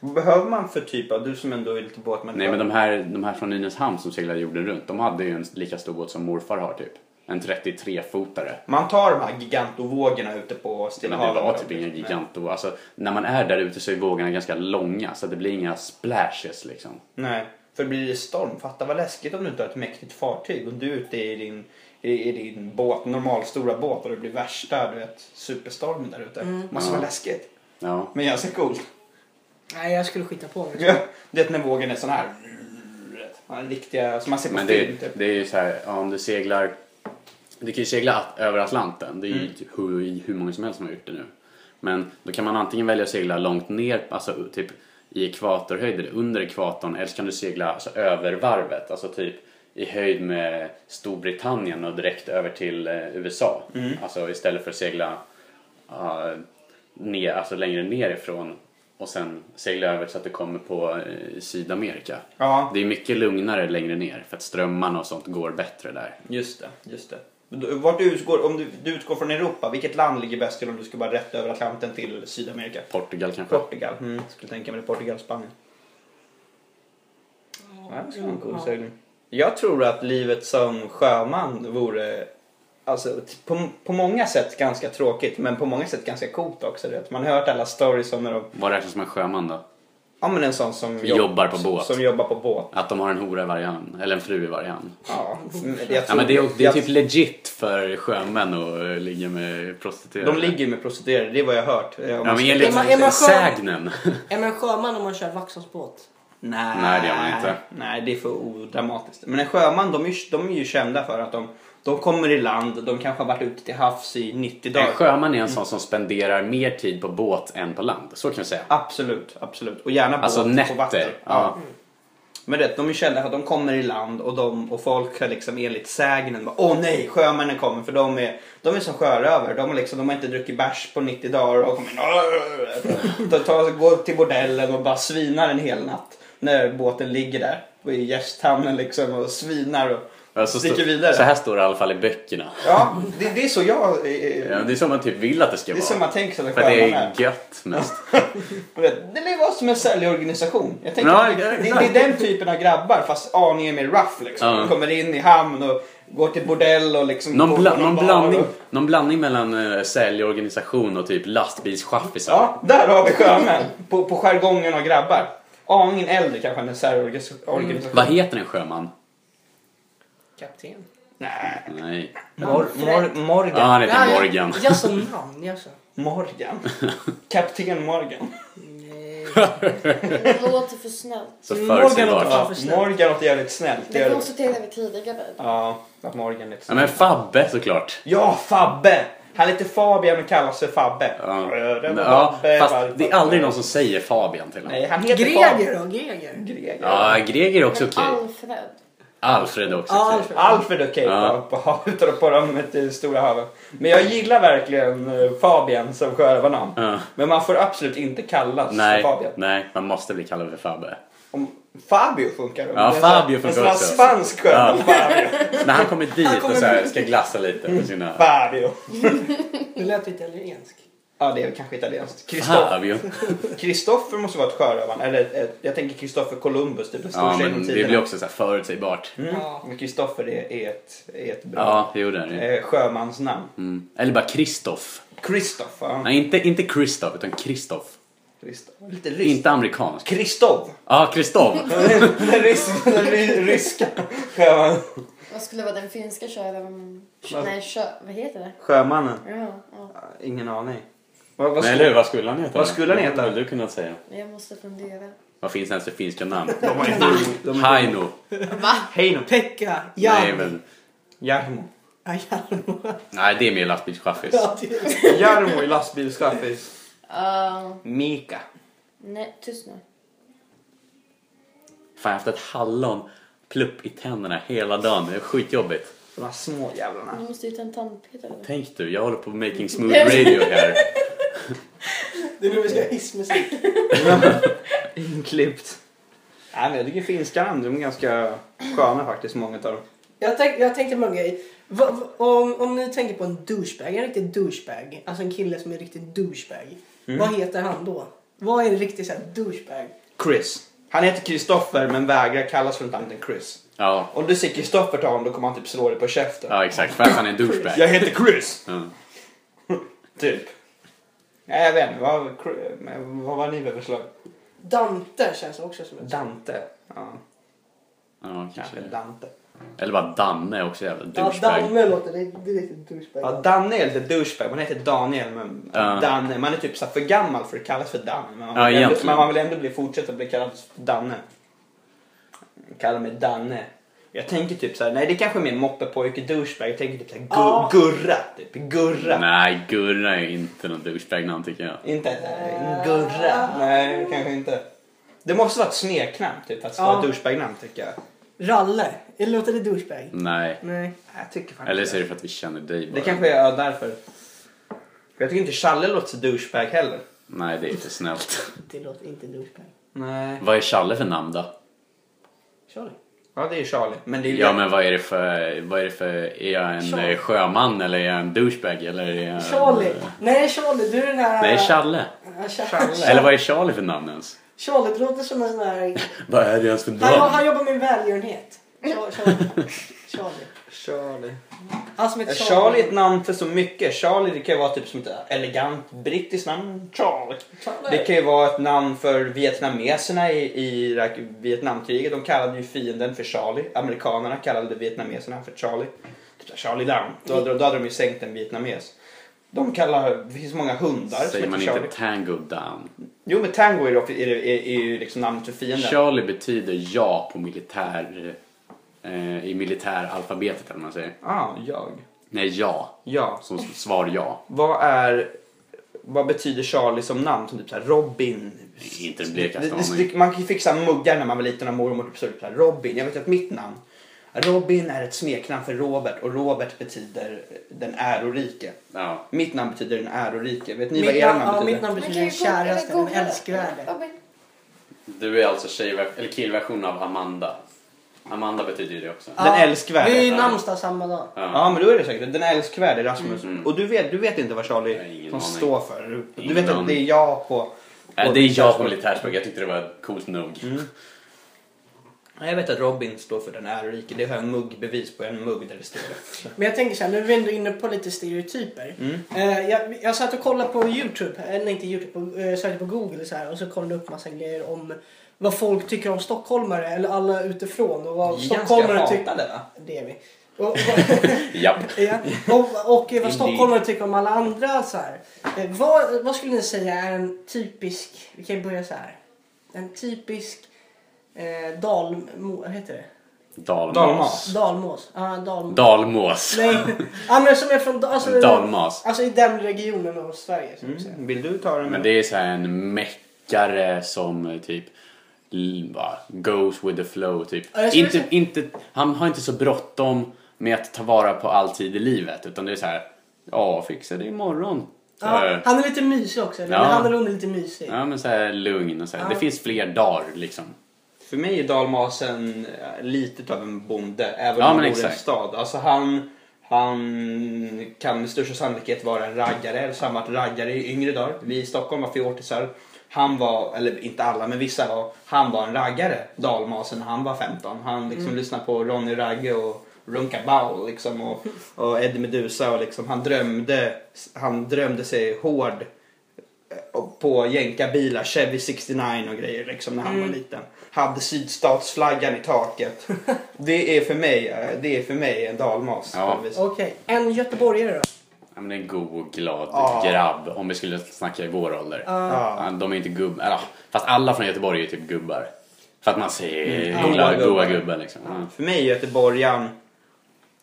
S2: Vad behöver man för typ av, du som ändå är lite båtmänniska?
S1: Nej men de här, de här från Nynäshamn som seglar jorden runt, de hade ju en lika stor båt som morfar har typ. En 33-fotare.
S2: Man tar de här gigantovågorna ute på Stilla
S1: Men det var
S2: havet.
S1: typ inga giganto. Alltså, när man är där ute så är vågorna ganska långa så att det blir inga splashes liksom.
S2: Nej, för blir det storm, fatta vad läskigt om du inte har ett mäktigt fartyg och du är ute i din, i, i din båt, normalstora båt och det blir värsta, du vet, superstormen där ute. Måste vara
S1: Ja.
S2: läskigt.
S1: Ja.
S2: Men ganska coolt.
S3: Nej, jag skulle skita på mig.
S2: Ja, Du vet när vågen är sån här. Man är Riktiga, som man ser på
S1: Men
S2: film
S1: det,
S2: typ.
S1: det är ju så här, ja, om du seglar... Du kan ju segla at- över Atlanten. Det är ju typ hur, hur många som helst som har gjort det nu. Men då kan man antingen välja att segla långt ner, alltså typ i ekvatorhöjd, under ekvatorn, eller så kan du segla alltså, över varvet, alltså typ i höjd med Storbritannien och direkt över till eh, USA.
S2: Mm.
S1: Alltså istället för att segla ja, ner, alltså längre nerifrån och sen segla över så att du kommer på eh, Sydamerika.
S2: Ja,
S1: Det är mycket lugnare längre ner för att strömmarna och sånt går bättre där.
S2: just det. Just det. Men då- Vart du utgår, om du, du utgår från Europa, vilket land ligger bäst till om du ska bara rätt över Atlanten till Sydamerika?
S1: Portugal kanske?
S2: Portugal. Mm. Skulle tänka mig det. Portugal, Spanien. Ja, det skulle vara en cool
S3: Ja.
S2: segling. Jag tror att livet som sjöman vore alltså, t- på, på många sätt ganska tråkigt men på många sätt ganska coolt också. Du vet. Man har hört alla stories om när de,
S1: Vad räknas som en sjöman då?
S2: ja, men en sån som
S1: Jobbar på båt.
S2: Som, som jobbar på båt.
S1: Att de har en hora i varje hand, eller en fru i varje hand.
S2: Ja, men jag
S1: Ja,
S2: tror,
S1: men det, är, det är
S2: jag-
S1: typ legit för sjömän att eh, ligga med prostituerade.
S2: de ligger ju med prostituerade, det är vad jag har hört. Eh, om
S1: Ja,
S2: man
S1: men
S2: ska-
S1: enligt
S3: Är man- är man sjö-
S1: sägnen.
S3: Är man sjöman om man kör Vaxholmsbåt?
S2: Nej,
S1: Nej, det gör man inte.
S2: Nej, det är för odramatiskt. Men en sjöman, de är, ju- de är ju kända för att de, de kommer i land, de kanske har varit ute till havs i 90 dagar.
S1: En sjöman är en sån som spenderar mer tid på båt än på land. Så kan vi säga.
S2: Absolut, absolut. Och gärna båt
S1: Alltså
S2: på vatten.
S1: nätter. Ja.
S2: Men rätt, de är kända för att de kommer i land och, de, och folk har liksom enligt sägnen bara, Åh nej, sjömännen kommer för de är, de är som sjörövare. De, har liksom, de har inte druckit bärs på 90 dagar och kommer "Arr!" de tar, går till bordellen och bara svinar en hel natt. När båten ligger där och i gästhamnen liksom och svinar och
S1: Ja, så,
S2: sticker
S1: stå-
S2: vidare.
S1: så här står det i alla fall i böckerna.
S2: Ja, det, det är så jag... eh,
S1: Ja, det är som man typ vill att det ska
S2: Det är
S1: vara.
S2: som man tänker sig att
S1: För att det
S2: sjömän är.
S1: är gött mest.
S2: Du vet, Det är vara som en säljorganisation. Jag tänker
S1: Ja,
S2: att det,
S1: ja,
S2: det,
S1: exakt.
S2: det är den typen av grabbar fast aningen mer rough liksom.
S1: Ja.
S2: De kommer in i hamn och går till bordell och liksom... går
S1: Någon,
S2: på
S1: bla- någon,
S2: bar
S1: blandning,
S2: Och,
S1: någon blandning mellan uh, säljorganisation och typ lastbilschaffisar.
S2: ja, där har vi sjömän. på, på skärgången av grabbar. Aningen äldre kanske än en säljorganisation.
S1: Vad heter en sjöman?
S3: Kapten.
S2: Nej.
S1: Nej.
S2: Mor, mor,
S1: Ja,
S2: Morgan.
S1: han heter Morgan.
S3: Jag, jag sa namn, jag sa.
S2: Morgan. Kapten Morgan.
S3: Nej.
S4: Det låter för snällt.
S1: Så
S3: Morgan låter
S1: förutsägbart.
S3: fan
S2: Ja,
S3: för snällt.
S2: Morgan låter jävligt snällt. det
S4: Det
S2: gör det.
S4: konstaterade vi tidigare.
S2: Ja, att Morgan är lite
S1: Ja, men Fabbe såklart.
S2: Ja, Fabbe! Han heter Fabian och kallas för Fabbe.
S1: Ja.
S2: Bröderna
S1: Ja,
S2: Fabbe,
S1: fast
S2: Fabbe.
S1: det är aldrig någon som säger Fabian till honom.
S2: Nej, han heter Fabbe.
S3: Greger då, Greger.
S2: Greger.
S1: Ja, Greger är också
S4: Men
S1: okej.
S4: Alfred.
S1: Alfred också.
S3: Ja, Alfred.
S2: Alfred och Kate
S1: Ja.
S2: ja. på havet och på de eh, stora haven. Men jag gillar verkligen eh, Fabian som sjörövarnamn.
S1: Ja.
S2: Men man får absolut inte kallas
S1: Nej,
S2: för Fabian.
S1: nej, man måste bli kallad för Fabbe.
S2: Om Fabio funkar.
S1: Ja,
S2: Det är så här-
S1: Fabio funkar
S2: En sån här
S1: också.
S2: spansk
S1: Ja.
S2: sjörövare. Fabio.
S1: När han kommer dit
S3: Han kommer
S1: och så här, ska glassa lite på sina...
S2: Fabio.
S3: Nu lät italiensk.
S2: Ja, det är väl kanske italienskt. Kristoffer.
S1: Fabio.
S2: Kristoffer måste vara ett sjörövarnamn. Eller ett, ett, jag tänker Kristoffer Columbus, typ en stor
S1: Ja,
S2: tjej
S1: men
S2: genom
S1: det blir
S2: tiderna.
S1: också så här förutsägbart.
S2: Mm.
S3: Ja.
S2: Men Kristoffer är, är, ett, är ett bra
S1: Ja, det gjorde det.
S2: eh, sjömansnamn.
S1: Mm. Eller bara Kristoff.
S2: Kristoff. Ja.
S1: Nej, inte, inte Kristoff, utan Kristoff.
S2: Kristoff. Lite ryskt.
S1: Inte amerikansk.
S2: Kristov.
S1: Ja, Kristoff.
S2: Den rys- den ry- ryska sjöman.
S4: Vad skulle vara den finska köraren? Nej, kö... Vad heter det?
S2: sjömannen.
S4: Ja, ja.
S2: Ingen aning. Vad, vad
S1: Nej,
S2: skulle-
S1: eller hur? Vad skulle han heta?
S2: Vad skulle han heta?
S1: Vad du kunnat säga?
S4: Jag måste fundera.
S1: Vad finns ens för finska namn?
S2: De har inte- de har inte-
S1: Haino.
S4: Va?
S2: Heino.
S3: Pekka,
S1: Nej,
S3: Jan.
S1: men...
S2: Jarmo.
S3: Ja, Jarmo.
S1: Nej, det är mer lastbilschaffis.
S3: Ja, det är-
S2: Jarmo i lastbilschaffis.
S4: Ja.
S2: Mika.
S4: nej, tyst nu.
S1: Fan, jag har haft ett hallon plupp i tänderna hela dagen. Det är skitjobbigt.
S2: De här små jävlarna.
S4: Du måste ju ta en tandpetare.
S1: Tänk du, jag håller på med making smooth radio här.
S3: Det är nu vi ska ha hissmusik.
S2: Inklippt. Nej men jag tycker finska namn, de är ganska sköna faktiskt många av dem.
S3: Jag, tänk, jag tänkte på en grej. Va- va- om, om ni tänker på en douchebag, en riktig douchebag. Alltså en kille som är riktigt douchebag.
S1: Mm.
S3: Vad heter han då? Vad är en riktig så här douchebag?
S2: Chris. Han heter Kristoffer men vägrar kallas runt namnet Chris.
S1: Ja,
S2: Om du säger Kristoffer till honom då kommer han typ slå dig på käften.
S1: ja exakt. För att han är en douchebag.
S2: Jag heter Chris!
S1: Mm.
S2: Typ. Nej jag vet inte, vad, men vad var ni för förslag?
S3: Dante känns också som en...
S2: Dante. Ja,
S1: Ja,
S2: kanske
S1: kanske.
S2: Dante.
S1: Eller bara Danne är också jävla
S3: Ja,
S1: douchebag.
S3: Danne låter. Det är, det är riktigt douchebag.
S2: Ja, Danne är lite douchebag. Man heter Daniel men
S1: Ja.
S2: Danne. Man är typ så här för gammal för att kallas för Danne. Men man,
S1: Ja,
S2: vill, ändå,
S1: egentligen.
S2: men man vill ändå bli, fortsätta bli kallad för Danne. Kalla mig Danne. Jag tänker typ så här, nej det är kanske är min moppepojke douchebag. Jag tänker typ så här, gu,
S3: Ja.
S2: Gurra. Typ, gurra.
S1: Nej, Gurra är inte någon douchebag-namn tycker jag.
S2: Inte nej, Gurra. Nej, kanske inte. Det måste vara ett smeknamn typ för att det ska vara
S3: Ja.
S2: ett douchebagnamn tycker jag.
S3: Ralle. Eller låter det douchebag?
S1: Nej.
S3: Nej.
S2: Nej, Jag tycker fan
S1: Eller
S2: inte
S1: så är det för att vi känner dig bara.
S2: Det kanske är ja, därför. För Jag tycker inte Challe låter så douchebag heller.
S1: Nej, det är inte snällt.
S3: Det låter inte douchebag.
S2: Nej.
S1: Vad är Challe för namn då?
S3: Charlie.
S2: Ja, det är Charlie. Men det är ju
S1: Ja, men vad är det för... Vad är det för... Är jag en
S3: Charlie.
S1: eh, sjöman eller är jag en douchebag eller är jag...
S3: Charlie. Nej, Charlie. Du är den här...
S1: Det är Challe.
S3: Ja, Charlie.
S2: Challe.
S1: Eller vad är Charlie för namn ens?
S3: Charlie, det låter som en sån här...
S1: Vad är det ens för
S3: Han,
S1: namn?
S3: han jobbar med välgörenhet. Char- Charlie. Charlie.
S2: Charlie.
S3: Han som heter
S2: Ja, Charlie är ett namn för så mycket. Charlie det kan ju vara typ som ett elegant brittiskt namn. Charlie. Det kan ju vara ett namn för vietnameserna i, i Irak- Vietnamkriget. De kallade ju fienden för Charlie. Amerikanerna kallade vietnameserna för Charlie. Typ så här, Charlie Down. Då, hade- då hade de ju sänkt en vietnames. De kallar, det finns många hundar som
S1: Säger
S2: heter
S1: man
S2: Charlie.
S1: inte Tango Down?
S2: Jo men tango är, då, är, är, är ju liksom namnet för fienden.
S1: Charlie betyder ja på militär... Eh, I militäralfabetet eller vad man säger.
S2: Ah, jag.
S1: Nej, ja.
S2: Ja.
S1: Som svar ja.
S2: Vad är... Vad betyder Charlie som namn? Som typ såhär Robin?
S1: Nej, inte den blekaste
S2: Det- det-
S1: aning.
S2: det- Man fick såhär muggar när man var liten av mormor. Typ så, typ såhär, Robin. Jag vet att mitt namn. Robin är ett smeknamn för Robert och Robert betyder den ärorike.
S1: Ja.
S2: Mitt namn betyder den ärorike. Vet ni vad
S3: Mitt
S2: era
S3: namn,
S2: namn
S3: ja,
S2: betyder?
S3: mitt namn betyder den käraste, den älskvärde.
S1: Du är alltså tjejver- eller killversion av Amanda. Amanda betyder ju det också.
S2: Den älskvärde.
S3: Vi är i namnsdag samma dag.
S2: Ja men då är det säkert. Den älskvärde Rasmus.
S1: Mm.
S2: Och du vet, du vet inte vad Charlie
S1: Jag har ingen
S2: som
S1: aning.
S2: står för. Du
S1: Ingen
S2: vet att
S1: aning.
S2: det är jag på...
S1: Nej, Äh, det är jag på militärspråk. Jag tyckte det var coolt nog.
S2: Nej, Jag vet att Robin står för den ärorike. Det har jag en muggbevis på. En mugg där det står det.
S3: Men jag tänker så här, nu är vi ändå inne på lite stereotyper.
S2: Mm.
S3: Eh, jag, jag satt och kollade på Youtube, eller inte Youtube, på, eh, sökte på Google så här, och så kollade jag upp massa grejer om vad folk tycker om stockholmare eller alla utifrån och vad
S2: Vi är
S3: stockholmare
S2: ganska
S3: tycker...
S2: hatade va?
S3: Det är vi. Och, och,
S1: Japp.
S3: ja. och, och vad
S2: Indeed.
S3: stockholmare tycker om alla andra så här. Eh, vad, vad skulle ni säga är en typisk, vi kan ju börja så här. En typisk eh, dalmo, vad heter det?
S1: Dalmas.
S2: Dalmas.
S3: Dalmås. Ja, dalmås.
S1: Dalmås.
S3: Nej, ja, men som är från alltså,
S1: Dalmas. Mm.
S3: Alltså i den regionen
S2: Mm,
S3: av Sverige. Så att säga.
S2: Vill du ta den?
S1: Men det är så här en meckare som eh, typ l- bara goes with the flow typ.
S3: Ja, jag skulle
S1: inte,
S3: säga-
S1: inte, han har inte så bråttom med att ta vara på all tid i livet utan det är så här, ja fixa det imorgon. Så
S3: Ja,
S1: här,
S3: han är lite mysig också. Eller?
S1: Eh. Ja.
S3: Han eller hon är lite mysig.
S1: ja men så här lugn och så här.
S3: Ja.
S1: Det finns fler dagar liksom.
S2: För mig är dalmasen eh, lite av en bonde, även
S1: Ja,
S2: om
S1: men
S2: han bor i en
S1: exakt.
S2: stad. Alltså han, han kan med största sannolikhet vara en raggare, eller så har han varit raggare i yngre dagar. Vi i Stockholm var fjortisar. Han var, eller inte alla, men vissa var, han var en raggare, dalmasen, när han var 15. Han liksom
S1: Mm.
S2: lyssnade på Ronny Ragge och Runka Bao liksom, och, och Eddie Meduza och liksom, han, drömde, han drömde sig hård och på jänkarbilar, Chevy 69 och grejer liksom när han var liten. Hade sydstatsflaggan i taket. Det är för mig, eh, det är för mig en dalmas.
S1: Ja.
S2: på något vis.
S3: Okej, en göteborgare då?
S1: Ja, men en god och glad
S2: Ja.
S1: grabb om vi skulle snacka i vår ålder.
S2: Ja.
S1: Ja, De är inte gubbar, eller, fast alla från Göteborg är ju typ gubbar. För att man säger
S2: Mm.
S1: goa,
S2: Goa
S1: goa
S2: gubbar.
S1: gubbar liksom. Ja.
S2: För mig är göteborgaren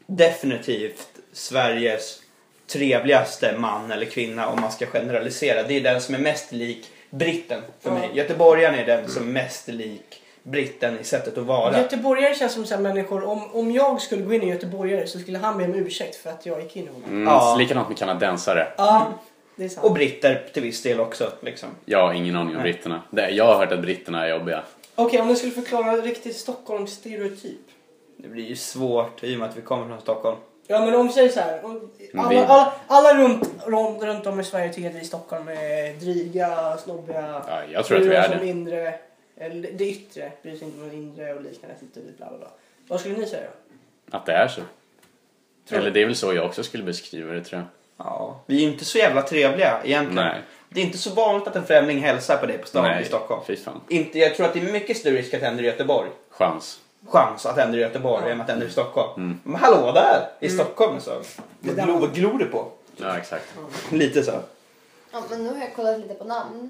S2: definitivt Sveriges trevligaste man eller kvinna om man ska generalisera. Det är den som är mest lik britten för
S3: Ja.
S2: mig. Göteborgaren är den som är mest lik britten i sättet att vara.
S3: Göteborgare känns som så här människor. Om, om jag skulle gå in i en göteborgare så skulle han be om ursäkt för att jag gick in i honom.
S1: Mm,
S2: Ja.
S1: Likadant med kanadensare.
S3: Ja, det är sant.
S2: Och britter till viss del också. Liksom.
S1: Jag har ingen aning om
S2: Nej.
S1: britterna. Det- Jag har hört att britterna är jobbiga.
S3: Okej, om du skulle förklara riktigt Stockholmsstereotyp.
S2: Det blir ju svårt i och med att vi kommer från Stockholm.
S3: Ja men om vi säger så här. om-
S1: Men vi-
S3: Alla, alla, alla runt, runt, runt om i Sverige tycker att vi i Stockholm är dryga, snobbiga.
S1: Ja, jag tror att vi
S3: bryr oss
S1: är
S3: om
S1: det.
S3: Inre, eller det yttre, bryr sig inte om det inre och liknande. Typ, typ, bla, bla, bla. Vad skulle ni säga då?
S1: Att det är så.
S3: Tror
S1: Eller
S3: du?
S1: det är väl så jag också skulle beskriva det tror jag.
S2: Ja, vi är inte så jävla trevliga egentligen.
S1: Nej.
S2: Det är inte så vanligt att en främling hälsar på dig på stan i Stockholm.
S1: fy fan.
S2: Inte, jag tror att det är mycket större risk att det händer i Göteborg.
S1: Chans.
S2: Chans att det händer i Göteborg än att det händer i Stockholm.
S1: Mm.
S2: Men hallå där! I Stockholm så. Vad
S3: Mm. där
S2: glor,
S3: var-
S2: vad glor du på?
S1: Ja, exakt.
S2: Lite så.
S4: Ja, men Alltså, nu har jag kollat lite på namn.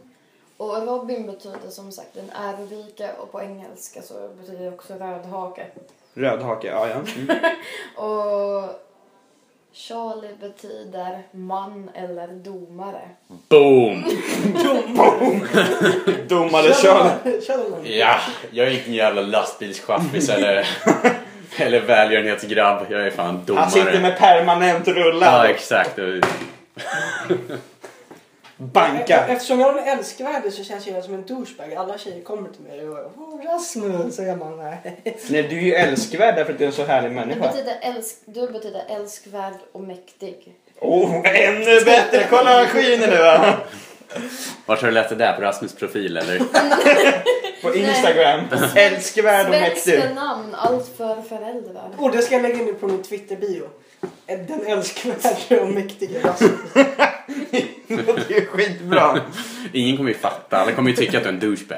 S4: Och Robin betyder som sagt den ärorika och på engelska så betyder det också rödhake.
S2: Rödhake, ja ja. Mm.
S4: Och Charlie betyder man eller domare.
S1: Boom!
S2: Domare Charlie.
S3: Kör någon.
S1: Ja, jag är ingen jävla lastbilschaffis eller, eller välgörenhetsgrabb. Jag är fan domare.
S2: Han sitter med permanent
S1: Ja,
S2: rullad och
S1: exakt. Och-
S2: bankar.
S3: E- Eftersom jag är älskvärd så känns jag som en douchebag. Alla tjejer kommer till mig och oh, Rasmus och jag bara nej.
S2: Nej, du är ju älskvärd därför att du är en så härlig
S4: Du
S2: människa.
S4: betyder, älsk, du betyder älskvärd och mäktig.
S2: Oh, ännu bättre! Kolla han skiner nu va?
S1: Vart har du lärt det där? På Rasmus profil eller?
S2: På Instagram. Älskvärd och mäktig.
S4: Svenska namn, allt för föräldrar.
S3: Och det ska jag lägga in på min Twitter-bio. Den älskvärde och mäktige Rasmus.
S2: Det är skitbra.
S1: Ingen kommer ju fatta. Alla kommer ju tycka att du är en douchebag.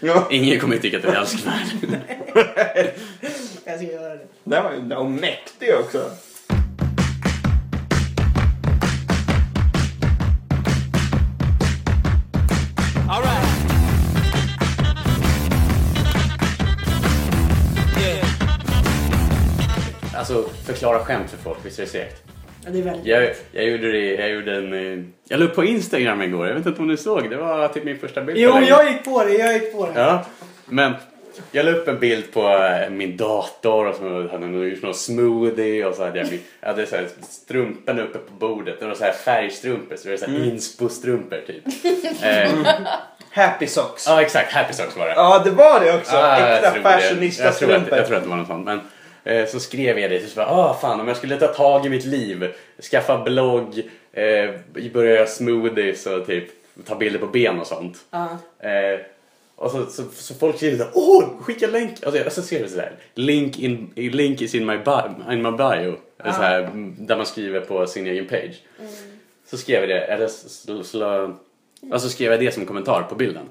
S2: Ja,
S1: Ingen kommer ju tycka att du är älskvärd.
S3: Jag ska göra det.
S2: den var ju och mäktig också.
S5: Alright. Yeah.
S1: Alltså, förklara skämt för folk. Visst är det segt?
S3: Ja, Det är väldigt
S1: Jag, jag gjorde det, jag gjorde en... eh, Jag la upp på Instagram igår, jag vet inte om du såg, det var typ min första bild på
S3: Jo,
S1: länge.
S3: jag gick på det. Jag gick på det.
S1: Ja, men jag la upp en bild på eh, min dator och så hade jag gjort någon smoothie och så hade jag, min- jag hade så här strumpan uppe på bordet, det var så här färgstrumpor, så det var så här inspo-strumpor typ. eh,
S2: Happy socks.
S1: ja exakt, happy socks var det.
S2: Ja, det var det också.
S1: Ah, jag
S2: Äkta
S1: tror det. jag tror, att,
S2: fashionista-strumpor.
S1: jag tror att det var något sånt. Men, eh, så skrev jag det, så bara, ah fan om jag skulle ta tag i mitt liv, skaffa blogg, eh, börja göra smoothies och typ ta bilder på ben och sånt.
S3: Ja.
S1: Eh, och så, så, så folk skriver såhär, åh skicka länk! Alltså jag associerar sådär, link, in, link is in my bio, in my bio. Eller Så här, mm, där man skriver på sin egen page. Så skrev jag det, eller så, så, alltså skrev jag det som kommentar på bilden.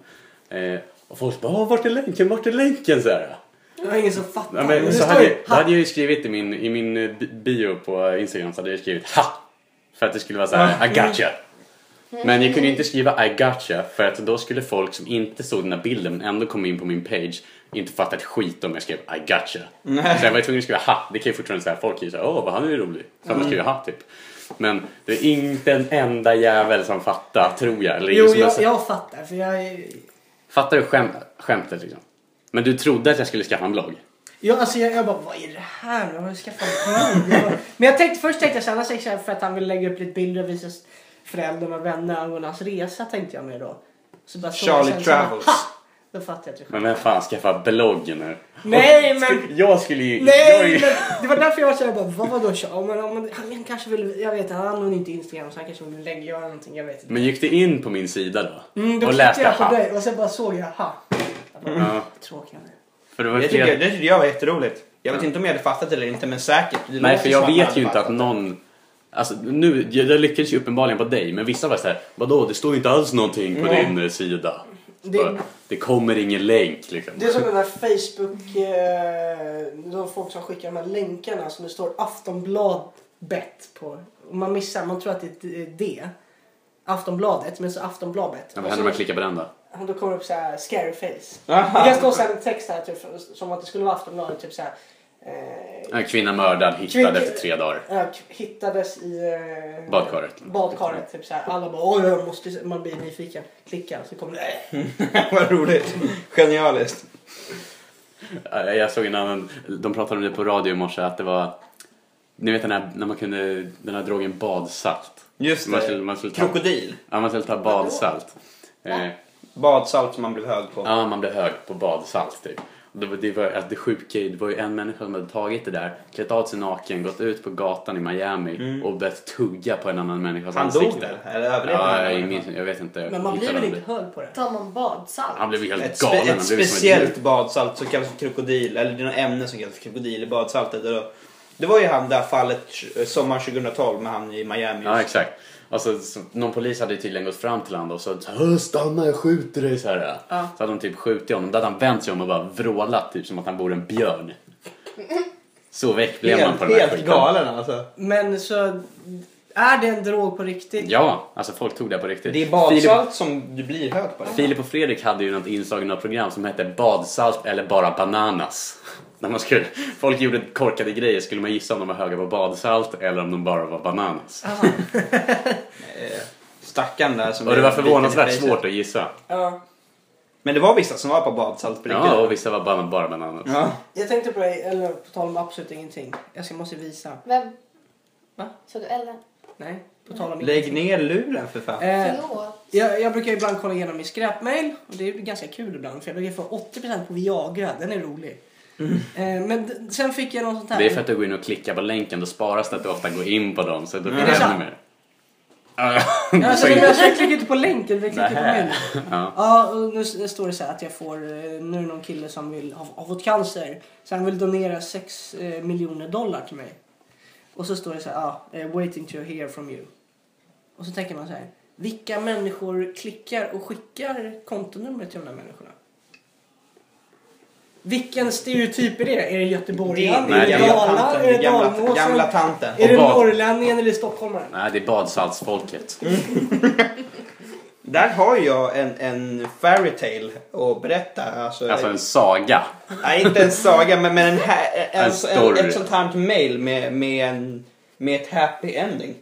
S1: Eh, och folk bara, "Åh, vart är länken, vart är länken? Så här.
S3: Det var ingen som fattade.
S1: Ja, men,
S3: Det
S1: så
S3: står
S1: hade,
S3: ju-
S1: jag- då hade jag ju skrivit i min, i min eh, bi- bio på Instagram så hade jag skrivit HA! För att det skulle vara så här, I gotcha! Men jag kunde ju inte skriva I gotcha för att då skulle folk som inte såg den här bilden men ändå kom in på min page inte fatta ett skit om jag skrev I gotcha. Så jag var ju tvungen att skriva HA! Det kan ju fortfarande säga folk är ju såhär åh vad han är ju rolig. Så man skriver HA typ. Men det är inte en enda jävel som fattar tror jag. Eller liksom alltså- ingen
S3: Jo,
S1: som har
S3: jag,
S1: sett-
S3: jag fattar. För jag är...
S1: Fattar du skäm, skämtet liksom? Men du trodde att jag skulle skaffa en blogg?
S3: Ja, alltså jag, jag bara, vad är det här nu? Har du skaffat en blogg? Jag bara- Men jag tänkte, först tänkte jag tjäna 6 för att han ville lägga upp lite bilder och visa föräldrarna och vänner angående hans resa tänkte jag mer då. Så bara såg jag
S2: Charlie
S3: sen så bara,
S2: Travels.
S3: "Ha!" Då fattade jag att det
S1: Men vem fan skaffar blogg nu?
S3: Nej,
S1: Och
S3: men-
S1: skulle- Jag skulle ju... jag är ju-
S3: Nej, men det var därför jag var såhär, bara, vad vadå? Ja, men, ja, men, han kanske vill, jag vet, han har inte Instagram så han kanske vill lägga, göra någonting, jag vet inte.
S1: Men gick du in på min sida då?
S3: Mm, då
S1: och läste
S3: läste jag på
S1: hack? Mm.
S3: dig och sen bara såg jag, ha. Jag bara,
S1: Ja,
S3: Tråkiga nu.
S1: för det var
S2: Det
S1: ju
S2: tycker,
S1: flera...
S2: jag- det tyckte jag var jätteroligt. Jag vet
S1: Ja.
S2: inte om jag hade fattat det eller inte, men säkert. Det
S1: Nej,
S2: låter
S1: för
S2: som
S1: jag
S2: man
S1: vet
S2: hade
S1: ju inte att
S2: fattat det.
S1: någon... Alltså nu, jag jag lyckades ju uppenbarligen på dig, men vissa var såhär Vadå, det står ju inte alls någonting på
S2: Mm.
S1: din eh, sida. Så
S3: Det-
S1: bara, det kommer ingen länk liksom.
S3: Det är som den här Facebook, eh, de folk som skickar de här länkarna som det står Aftonbladet på. Och man missar, man tror att det är ett D. Aftonbladet, men så Aftonbladet.
S1: Ja,
S3: Och
S1: vad händer Ah. om
S3: så-
S1: jag klickar på den då?
S3: Då kommer det upp så här scary face.
S2: Aha.
S3: Det kan stå så här en text här typ, som att det skulle vara Aftonbladet. Typ så här, eh,
S1: En kvinna mördad, hittad
S3: Kvin-
S1: efter tre dagar.
S3: ja, k- hittades i eh,
S1: Badkaret.
S3: badkaret. Typ så här. Alla bara oj, jag måste, se." man blir nyfiken. Klickar så kommer det.
S1: Mm.
S3: "Äh."
S2: Vad roligt. Genialiskt.
S1: Eh, Jag såg en annan, de pratade om det på radio i morse att det var... Ni vet den här, när man kunde, den här drogen badsalt.
S2: Just
S1: Man skulle,
S2: det.
S1: man skulle ta,
S2: Krokodil.
S1: ja, man skulle ta badsalt. Eh,
S2: Badsalt som man blev hög på.
S1: Ja, man blev hög på badsalt typ. Och Det, var- det, var, alltså, det sjuka är- det var ju en människa som hade tagit det där, klätt av sig naken, gått ut på gatan i Miami och börjat tugga på en annan människas
S2: Mm. Han
S1: ansikte.
S2: dog väl? Eller överlevde han?
S1: Ja, jag, minns, jag vet inte.
S3: Men man blir
S1: Hittade
S3: väl
S1: han
S3: inte hög på det?
S4: Tar man badsalt?
S1: det? Han blev ju helt
S2: Ett, spe,
S1: galen. han
S2: ett
S1: blev ju som ett
S2: speciellt
S1: djur.
S2: badsalt som kallas för krokodil, eller det är något ämne som kallas för krokodil i badsaltet. Och då- Det var ju han där fallet eh, sommaren 2012 med han i Miami.
S1: Ja, exakt. Alltså, så, någon polis hade ju tydligen gått fram till honom och så "Hö, stanna jag skjuter dig så här.
S3: Ja.
S1: Så hade de typ skjutit honom. Då hade han vänt sig om och bara vrålat typ som att han vore en björn. Så väck blev man
S2: helt
S1: på den här
S2: helt
S1: skiten.
S2: galen alltså.
S3: Men så är det en drog på riktigt?
S1: Ja, alltså folk tog det på riktigt.
S2: Det är
S1: Filip-
S2: badsalt som du blir hög på.
S1: Filip och Fredrik hade ju något inslag i något program som hette badsalt eller bara bananas. När man skulle, folk gjorde korkade grejer skulle man gissa om de var höga på badsalt eller om de bara var bananas.
S3: Aha.
S2: Eh, Stackaren där som
S1: Och det
S2: blev
S1: var
S2: biten i
S1: förvånansvärt
S2: fejset.
S1: svårt att gissa.
S3: Ja.
S2: Men det var vissa som var på badsalt på riktigt.
S1: Ja, och vissa var bara, bara bananas.
S2: Ja.
S3: Jag tänkte på dig, eller på tal om absolut ingenting. Jag ska, måste visa.
S4: Vem?
S3: Va?
S4: Så du Ellen?
S3: Nej, på tal
S1: Mm.
S3: om
S2: Lägg
S3: ingenting.
S2: ner luren för fan.
S3: Eh,
S4: Förlåt.
S3: jag, jag brukar ibland kolla igenom min skräpmail och det är ganska kul ibland för jag brukar få 80% på Viagra, den är rolig. Eh, men d- sen fick jag något sånt här.
S1: Mm. Det är för att du går in och klickar på länken, då sparas det att du ofta går in på dem så då blir
S2: Är
S1: det
S3: det
S1: ännu
S3: sant?
S1: mer. Ja,
S3: Alltså,
S1: så in-
S3: men alltså, jag klickar inte på länken, jag klickar på
S1: Nähä.
S3: min.
S1: Ja.
S3: Ja, och nu s- står det så här att jag får, eh, nu är det någon kille som vill, har, har fått cancer. Så han vill donera 6 eh, miljoner dollar till mig. Och så står det så här, ah, eh, waiting to hear from you. Och så tänker man så här, vilka människor klickar och skickar kontonumret till de där människorna? Vilken stereotyp är det? Är det göteborgaren?
S1: Nej,
S3: Är det
S1: gamla
S3: Dalarna? Är det
S2: gamla, eh,
S3: dalmåsen?
S2: gamla tanten.
S3: Är det
S1: Och vad-
S3: norrlänningen eller stockholmaren?
S1: Nej, det är badsaltsfolket.
S2: Där har jag en, en fairy tale att berätta. Alltså, eh,
S1: Alltså en saga.
S2: Nej, inte en saga, men, men en, ha- en,
S1: En
S2: en,
S1: story.
S2: ett sånt här mail med, med, en, med ett happy ending.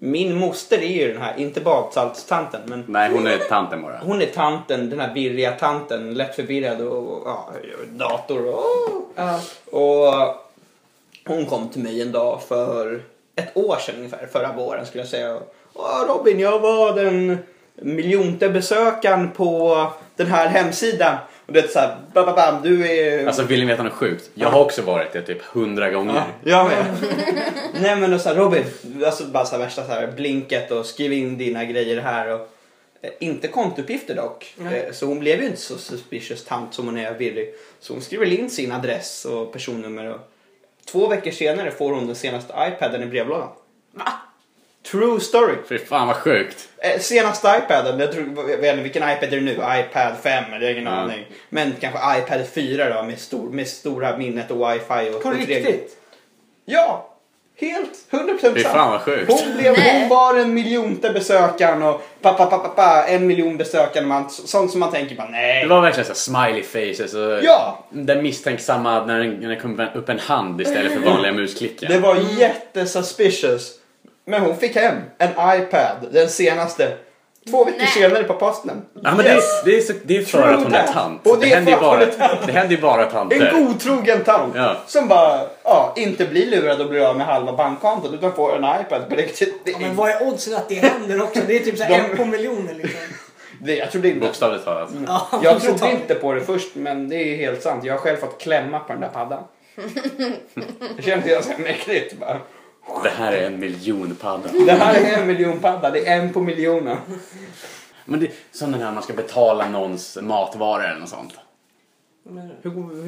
S2: Min moster är ju den här, inte badsaltstanten, men
S1: Nej, hon är tanten bara.
S2: hon är tanten, den här virriga tanten, lätt förvirrad och, och ja, dator och...
S3: Ja.
S2: Och hon kom till mig en dag för ett år sedan ungefär, förra våren skulle jag säga. Åh, Robin, jag var den miljonte besökaren på den här hemsidan. Och det är så här, bam, bam, bam, du är...
S1: Alltså vill ni veta något sjukt? Jag har också varit det typ hundra
S2: Ja,
S1: gånger.
S2: jag med. Nej men och så här, Robin, alltså bara så här värsta så här blinket och skriv in dina grejer här och eh, inte kontouppgifter dock.
S3: Nej.
S2: Eh, Så hon blev ju inte så suspicious tant som hon är virrig. Så hon skriver in sin adress och personnummer och två veckor senare får hon den senaste iPaden i brevlådan. Va? True story.
S1: Fy fan vad sjukt.
S2: Eh, senaste iPaden, jag tror, jag vet inte, vilken iPad är det nu? iPad 5? eller Jag har ingen
S1: Ja.
S2: aning. Men kanske iPad 4 då med, stor, med stora minnet och wifi och
S3: På
S2: och
S3: riktigt?
S2: Ja! Helt, 100% sant.
S1: Fy fan vad sjukt.
S2: Hon, blev, hon var den miljonte besökaren och pa, pa, pa, pa, pa, en miljon besökare. Man, sånt som man tänker bara nej.
S1: Det var verkligen så här smiley faces och
S2: Ja!
S1: den misstänksamma när den- när det kom upp en hand istället för vanliga musklickar.
S2: Det var jättesuspicious. Men hon fick hem en iPad, den senaste. Två veckor
S4: Nej.
S2: senare på posten.
S1: Ja, men
S2: Yes.
S1: det, är, det, är så, det är för
S2: True
S1: att hon är
S2: that.
S1: tant.
S2: Och
S1: det,
S2: det är
S1: händer ju
S2: för att
S1: bara,
S2: hon är tant.
S1: det händer ju bara tanter.
S2: En godtrogen tant
S1: Ja.
S2: som bara ja, inte blir lurad och blir av med halva bankkontot utan får en iPad på riktigt. Det,
S3: Ja, men
S2: är-
S3: vad är oddsen att det händer också? Det är typ så här
S2: De-
S3: en på miljonen liksom.
S2: det, jag trodde inte
S1: Bokstavligt talat.
S3: Ja,
S2: Jag
S3: så tar
S2: trodde
S3: vi.
S2: inte på det först men det är helt sant. Jag har själv fått klämma på den där paddan. Det känns ju ganska mäktigt. Bara.
S1: Det här är en miljonpadda.
S2: Det här är en miljon padda, det är en på miljonen.
S1: Men det är som den här man ska betala någons matvaror eller något sånt.
S3: Men-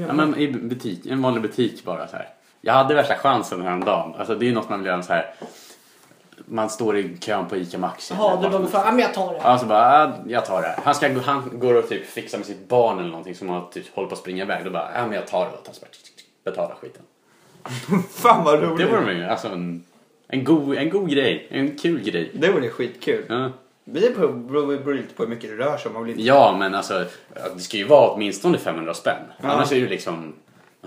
S1: Ja, men i butik, en vanlig butik bara så här. Jag hade värsta chansen häromdagen. Alltså det är ju något man vill göra så här. Man står i kön på ICA Maxi.
S3: Jaha, du bara går fram. Ja, men jag tar det.
S1: Ja, så bara, äh, jag tar det här. Han, ska, gå- han går och typ fixar med sitt barn eller någonting som har typ håller på att springa iväg. Då bara, ja men jag tar det och tar så bara, tick, tick, tick, betalar skiten.
S2: Fan vad
S1: Det
S2: roligt.
S1: var de ju. Alltså en, en, god, en god grej. En kul grej.
S2: det vore skitkul.
S1: Ja.
S2: Men det beror beror lite på hur mycket det rör sig om. Man vill inte...
S1: Ja, men alltså det ska ju vara åtminstone 500 spänn.
S2: Ja.
S1: Annars är det ju liksom,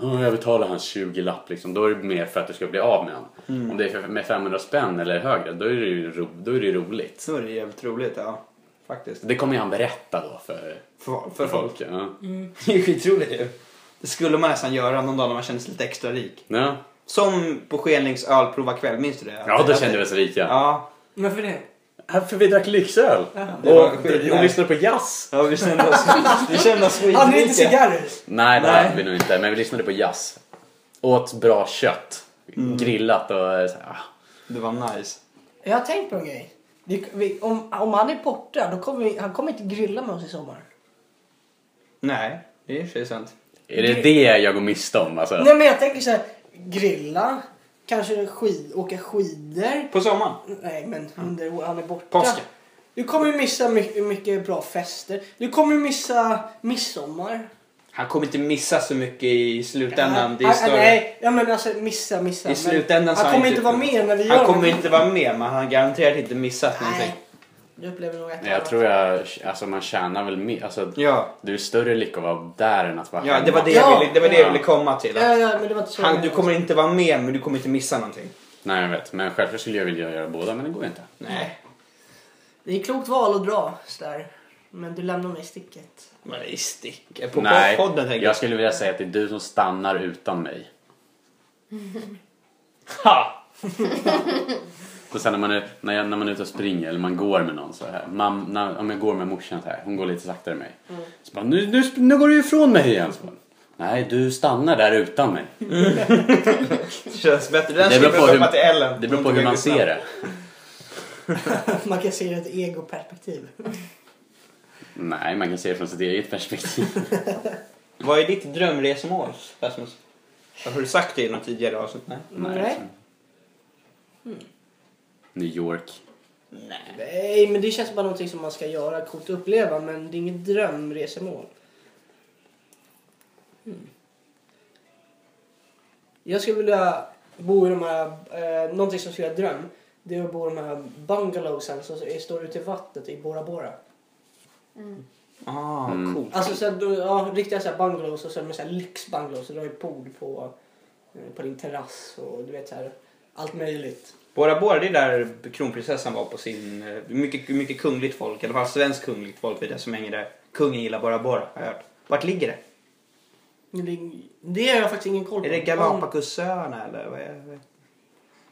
S1: "Åh, jag betalar hans 20-lapp liksom. Då är det mer för att du ska bli av med honom.
S2: Mm.
S1: Om det är för- med 500 spänn eller högre, då är det ju ro, då är det ju roligt.
S2: Så är det jävligt roligt, ja. Faktiskt.
S1: Det kommer ju han berätta då för,
S2: För,
S1: för folk. Ja.
S2: Det är ju skitroligt ju. Det skulle man nästan göra någon dag när man känner sig lite extra rik.
S1: Ja.
S2: Som på Skenlings ölprovarkväll, minns du det?
S1: ja, då kände vi oss rika.
S2: Ja,
S3: Varför det?
S1: Ja, För vi drack lyxöl.
S2: Det var
S1: Och,
S2: skit,
S1: och
S2: nej.
S1: lyssnade på jazz.
S2: ja vi kände oss, vi kände oss skitrika.
S3: Hade ni inte cigarrer?
S1: Nej, det
S2: Nej.
S1: hade vi nog inte. Men vi lyssnade på jazz. Åt bra kött.
S2: Mm.
S1: Grillat och eh, så här, ah.
S2: Det var nice.
S3: Jag har tänkt på en grej. Vi, vi, om, om han är borta, då kommer vi, han kommer inte grilla med oss i sommar.
S2: Nej, det är i och för sig sant.
S1: Är det det jag går miste om alltså?
S3: Nej men jag tänker så här, grilla, kanske skid, åka skidor.
S2: På sommaren?
S3: Nej men
S1: Mm.
S3: under, han är borta.
S2: Påsken.
S3: Du kommer ju missa my- mycket bra fester. Du kommer ju missa midsommar.
S2: Han kommer inte missa så mycket i slutändan. Det är
S3: Ah, ah,
S2: större.
S3: Nej, ja, men alltså missa, missa.
S2: I
S3: Men
S2: slutändan så
S3: han
S2: ju
S3: kommer
S2: typ-
S3: inte vara med när vi gör
S2: Han kommer
S3: någonting.
S2: inte vara med men han garanterat inte missat någonting.
S3: Nej, du upplever nog att
S1: Nej, Jag tror jag, alltså man tjänar väl mer. Alltså,
S2: Ja,
S1: Du är större lycka att vara där än att vara
S2: ja
S1: hemma.
S2: det var det,
S3: Ja.
S2: jag, ville, det, var det jag ville komma till.
S3: Ja, ja, men det var inte så
S2: Han, du kommer inte vara med men du kommer inte missa någonting.
S1: Nej jag vet, men självklart skulle jag vilja göra båda men det går inte.
S2: Nej,
S3: Det är ett klokt val att dra sådär. Men du lämnar mig i sticket.
S2: men det är stick. På
S1: Nej,
S2: podden tänker jag.
S1: jag skulle vilja säga att det är du som stannar utan mig.
S2: Ha!
S1: Och sen när man, är, när, jag, när man är ute och springer eller man går med någon så här. Mam, när, om jag går med morsan så här, hon går lite saktare än mig.
S2: Mm.
S1: Så bara, nu, nu, sp- nu går du ifrån mig igen. Så bara, Nej, du stannar där utan mig.
S2: Det känns bättre. Den
S1: Det
S2: ska
S1: beror
S2: vi
S1: på
S2: droppa
S1: hur-
S2: till Ellen.
S1: Det beror på hur man ser det.
S3: Man kan se det ur ett egoperspektiv.
S1: Nej, man kan se det från sitt eget perspektiv.
S2: Vad är ditt drömresmål, Rasmus? Har du sagt det i något tidigare avsnitt? Nej. Mm.
S3: Nej.
S1: New York.
S2: Nej.
S3: Nej, men det känns bara någonting som man ska göra, coolt att uppleva. Men det är inget drömresemål. Mm. Jag skulle vilja bo i de här, eh, någonting som skulle vara dröm. Det är att bo i de här bungalowsen som är- står ute i vattnet i Bora Bora.
S2: Ah,
S1: Mm.
S2: coolt.
S3: Alltså så här, då- ja, riktiga så här bungalows och så med så här lyxbungalows. Och du har ju pool på, eh, på din terrass och du vet så här, allt möjligt.
S2: Bora Bora, det är där kronprinsessan var på sin... eh, Mycket, mycket kungligt folk, i alla fall svenskt kungligt folk vid det som hänger där. Kungen gillar Bora Bora, har jag hört. Vart ligger det?
S3: Men Det, det har jag faktiskt ingen koll på.
S2: Är det Galapagosöarna eller vad är det?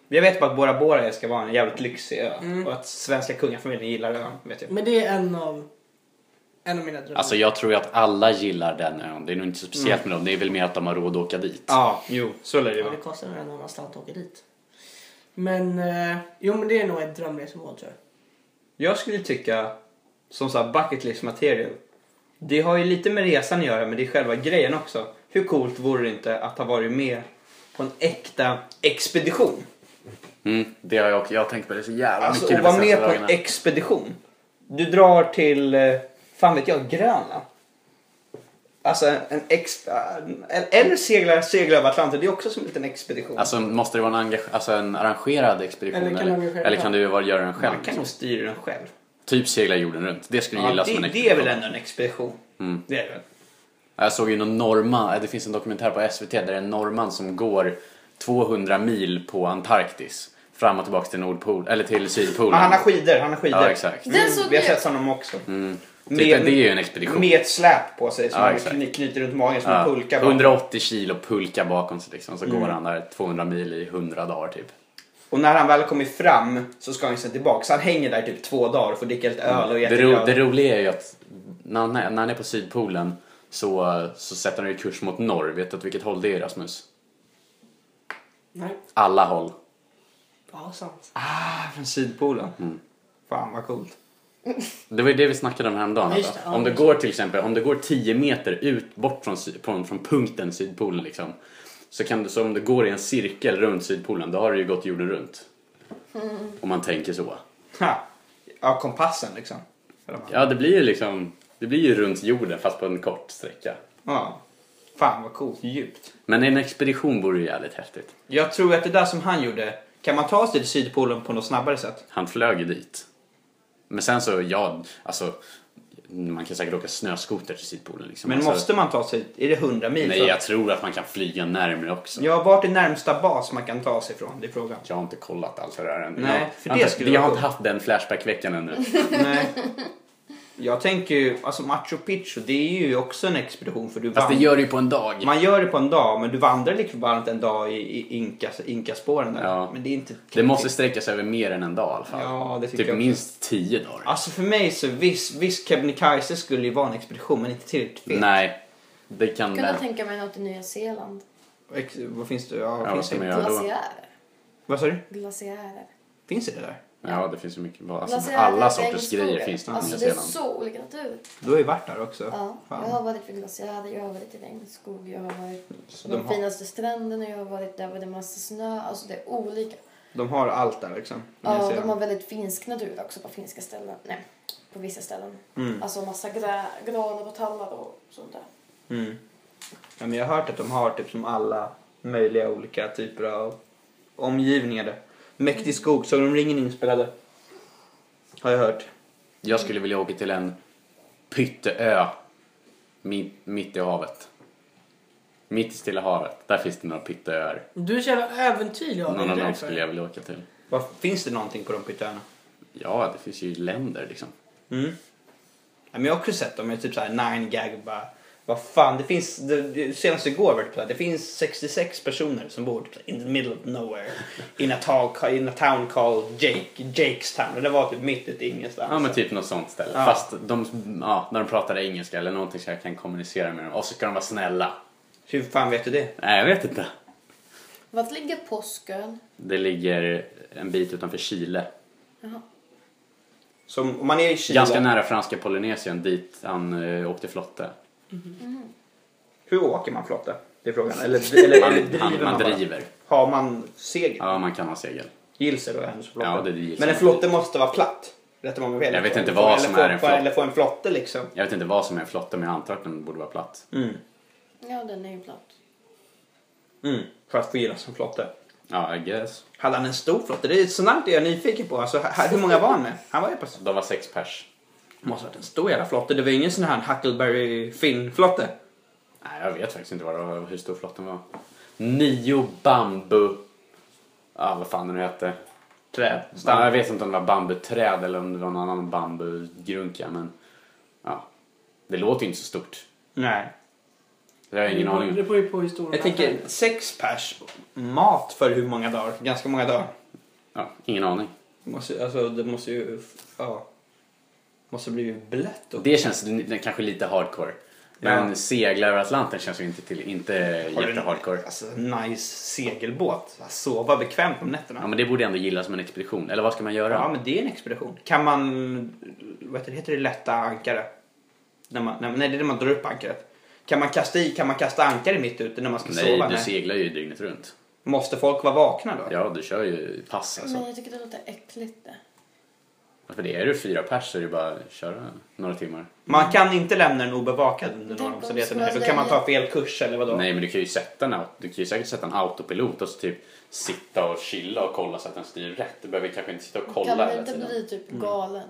S2: Jag vet bara att Bora Bora ska vara en jävligt lyxig ö
S3: Mm.
S2: och att svenska kungafamiljen gillar ön, vet jag.
S3: Men det är en av, en av mina drömmar.
S1: Alltså jag tror ju att alla gillar den ön. Det är nog inte så speciellt med dem. Det är väl mer att de har råd att åka dit.
S2: Mm. Ja, jo, så lär det
S3: Ja,
S2: vara.
S3: det kostar nog en annan slant att åka dit. Men, eh, jo men det är nog ett drömresmål tror jag.
S2: Jag skulle tycka, som så här bucket list material. Det har ju lite med resan att göra, men det är själva grejen också. Hur coolt vore det inte att ha varit med på en äkta expedition?
S1: Mm, det har jag också. Jag har tänkt på det så jävla
S2: Alltså
S1: mycket
S2: att
S1: de
S2: vara med
S1: senaste
S2: på en
S1: dagarna.
S2: expedition. Du drar till, eh, fan vet jag, Grönland. Alltså en ex... en- Eller seglar, seglar över Atlanten, det är också som en liten expedition.
S1: Alltså måste det vara en, engage- alltså, en arrangerad expedition?
S3: Eller kan
S1: Eller,
S3: man göra
S1: eller,
S3: själv?
S1: kan du vara- göra den själv?
S2: Man kan nog styra den själv.
S1: Typ segla jorden runt. Det skulle jag
S2: Ja,
S1: gilla
S2: det,
S1: som en
S2: det är
S1: expedition.
S2: väl ändå en expedition?
S1: Mm.
S2: Det är det väl.
S1: Jag såg ju någon norrman, äh, det finns en dokumentär på SVT där det är en norrman som går 200 mil på Antarktis. fram och tillbaka till Nordpol, eller till Sydpolen.
S2: Men han har skidor, han har skidor. Mm,
S1: Ja, exakt.
S4: Den såg
S2: vi har
S4: jag.
S2: sett honom också.
S1: Mm. Typ, det
S2: Med-
S1: är ju en expedition.
S2: Med ett släp på sig som
S1: Ja,
S2: han
S1: exakt.
S2: kny- knyter runt magen som
S1: Ja,
S2: en pulka. bara.
S1: 180 kilo pulka bakom sig liksom. Så går
S2: Mm.
S1: han där 200 mil i 100 dagar typ.
S2: Och när han väl kommer fram så ska han sen tillbaka. Så han hänger där typ två dagar och får dricka lite öl och
S1: Mm. Det, ro,
S2: jätteglad.
S1: det roliga är ju att när han är, när han är på Sydpolen så, så sätter han ju kurs mot norr. Vet du åt vilket håll det är Rasmus?
S3: Nej.
S1: Alla håll.
S3: Ja, sant.
S2: Ah, från Sydpolen.
S1: Mm.
S2: Fan vad coolt.
S1: Det var ju det vi snackade om häromdagen.
S3: Just
S1: att
S3: det, ja,
S1: om det
S3: just det.
S1: går till exempel om det går 10 meter ut bort från, sy- från, från punkten Sydpolen liksom. Så, kan du, så om det går i en cirkel runt Sydpolen då har det ju gått jorden runt.
S3: Mm.
S1: Om man tänker så.
S2: Ha. Ja, kompassen liksom. Eller vad?
S1: Ja det blir ju liksom det blir ju runt jorden fast på en kort sträcka.
S2: Ja. Fan vad coolt. Djupt.
S1: Men en expedition vore ju jävligt häftigt.
S2: Jag tror att det där som han gjorde, kan man ta sig till Sydpolen på något snabbare sätt?
S1: Han flög ju dit. Men sen så, ja, alltså man kan säkert åka snöskoter till Sydpolen liksom.
S2: Men
S1: alltså,
S2: måste man ta sig, är det 100 mil?
S1: Nej
S2: så?
S1: jag tror att man kan flyga närmare också.
S2: Ja, vart är närmsta bas man kan ta sig från? Det är frågan.
S1: Jag har inte kollat allt det där än.
S2: Nej,
S1: jag,
S2: för
S1: jag har
S2: det
S1: inte-
S2: skulle
S1: jag
S2: vara
S1: har inte
S2: coolt.
S1: haft den flashback-veckan ännu.
S2: Nej. Jag tänker ju, alltså Machu Picchu, det är ju också en expedition för du
S1: Fast det
S2: vandrar-
S1: gör det ju på en dag.
S2: Man gör det på en dag, men du vandrar liksom varmt en dag i, i inkas, inkaspåren där.
S1: Ja.
S2: Men det är inte...
S1: Det måste sträcka sig över mer än en dag i alla fall.
S2: Ja, det tycker
S1: typ
S2: jag också.
S1: minst tio dagar.
S2: Alltså för mig så, visst, visst Kebnekaise skulle ju vara en expedition, men inte tillräckligt fet.
S1: Nej, det kan
S4: Kunde
S1: väl.
S4: tänka mig något i Nya Zeeland.
S2: Ex- Vad finns det? Ja,
S1: Ja, vad
S2: finns
S1: ska man
S2: det?
S1: göra då?
S4: Glaciärer.
S2: Vad sa du?
S4: Glaciärer.
S2: Finns det där?
S1: Ja, det finns ju mycket. Alltså,
S4: Glaciärer
S1: alla
S4: i
S1: sorters
S4: regnskogen.
S1: grejer finns det i
S4: Alltså
S1: Nya
S4: det är
S1: Zeeland.
S4: så olika natur.
S2: Du har ju varit där också.
S4: Ja, jag
S2: Fan.
S4: har varit vid glaciärer, jag har varit i regnskog, jag har varit
S2: Så
S4: på
S2: de
S4: de
S2: har-
S4: finaste stränderna, jag har varit där det är massa snö. Alltså det är olika.
S2: De har allt där liksom.
S4: Ja,
S2: Nya
S4: de har
S2: Zeeland.
S4: väldigt finsk natur också på finska ställen. Nej, på vissa ställen.
S2: Mm.
S4: Alltså massa grä, granar och tallar och sånt där.
S2: Mm. Ja, men jag har hört att de har typ som alla möjliga olika typer av omgivningar där. Mäktig skog, Sagan om ringen inspelade. Har jag hört.
S1: Jag skulle vilja åka till en pytteö mitt, mitt i havet. Mitt i Stilla havet. Där finns det några pytteöar.
S3: Du är så jävla äventyrlig av dig,
S1: Någon av
S3: det är
S1: dem
S3: för.
S1: skulle jag vilja åka till.
S2: Vad- Finns det någonting på de pyttarna?
S1: Ja, det finns ju länder liksom.
S2: Mm. Ja, men jag har också sett dem, jag är typ såhär 9 gag och bara vad fan, det finns, det, det, senast igår var det typ såhär, det finns 66 personer som bor typ in the middle of nowhere in a, tall, in a town called Jake, Jakestown. Och det var typ mitt ute i ingenstans.
S1: Ja, men typ något sånt ställe.
S2: Ja.
S1: Fast de, ja, när de pratar engelska eller någonting så jag kan kommunicera med dem. Och så ska de vara snälla.
S2: Hur fan vet du det?
S1: Nej, jag vet inte.
S4: Vart ligger Påskön?
S1: Det ligger en bit utanför Chile.
S4: Jaha.
S2: Som, om man är i Chile,
S1: Ganska nära franska Polynesien dit han eh, åkte flotte.
S2: hur åker man flotte? Det är frågan. Eller, eller
S1: Man,
S2: driver
S1: han, man
S2: bara?
S1: driver.
S2: Har man segel?
S1: Ja, man kan ha segel.
S2: Gills är då en flotte.
S1: Ja, det är gills.
S2: men en flotte måste vara platt. Rätt om man vill.
S1: Jag vet inte
S2: Eller få-
S1: vad
S2: eller
S1: som
S2: få-
S1: är en flotte.
S2: Eller få en flotte liksom.
S1: Jag vet inte vad som är en flotte men jag antar att den borde vara platt.
S2: Mm.
S4: Ja, den är ju platt.
S2: Mm. För att få gilla som flotte.
S1: Ja, I guess.
S2: Hade han en stor flotte? Det är sånt där jag är nyfiken på. Alltså, här, hur många var han med? Han var ju på...
S1: De var sex pers.
S2: Måste ha varit en stor jävla flotte. Det var ingen sån här Huckleberry Finn-flotte.
S1: Nej, jag vet faktiskt inte vad det var, hur stor flotten var. Nio bambu... Ja, vad fan den nu hette.
S2: Träd.
S1: Ja, jag vet inte om det var bambuträd eller om det var någon annan bambugrunka men... Ja. Det låter ju inte så stort.
S2: Nej.
S1: Jag har ingen
S3: Det beror- Det
S1: aning.
S3: beror ju på hur stor den
S2: Jag
S3: är.
S2: tänker sex pers. Mat för hur många dagar? Ganska många dagar.
S1: Ja, ingen aning.
S2: Det måste, ju- alltså, det måste ju... Ja. Måste bli blött. Och...
S1: Det känns n- kanske lite hardcore. Men
S2: Ja.
S1: segla över Atlanten känns ju inte, till, inte
S2: Har du en-
S1: jättehardcore.
S2: Alltså, nice segelbåt. Sova bekvämt om nätterna.
S1: Ja, men det borde ändå gillas som en expedition. Eller vad ska man göra?
S2: Ja, men det är en expedition. Kan man, vad heter det, heter det lätta ankare? När man, när, nej, det är när man drar upp ankaret. Kan man kasta i, kan man kasta ankare mitt ute när man ska
S1: Nej,
S2: sova?
S1: du
S2: Nej.
S1: seglar ju dygnet runt.
S2: Måste folk vara vakna då?
S1: Ja, du kör ju pass alltså.
S4: Men jag tycker det låter äckligt det.
S1: För det är du fyra pers så är det bara att köra några timmar.
S2: Man kan inte lämna den obevakad under
S4: Tänk
S2: några
S4: om
S2: omständigheter.
S4: det
S2: nej.
S4: skulle
S2: Då kan man
S4: vara-
S2: ta fel kurs eller vadå?
S1: Nej, men du kan ju sätta en, aut- du kan ju säkert sätta en autopilot och så typ sitta och chilla och kolla så att den styr rätt. Du behöver kanske inte sitta och kolla
S4: kan man
S1: hela
S4: inte
S1: tiden.
S4: bli
S2: Mm.
S4: typ galen?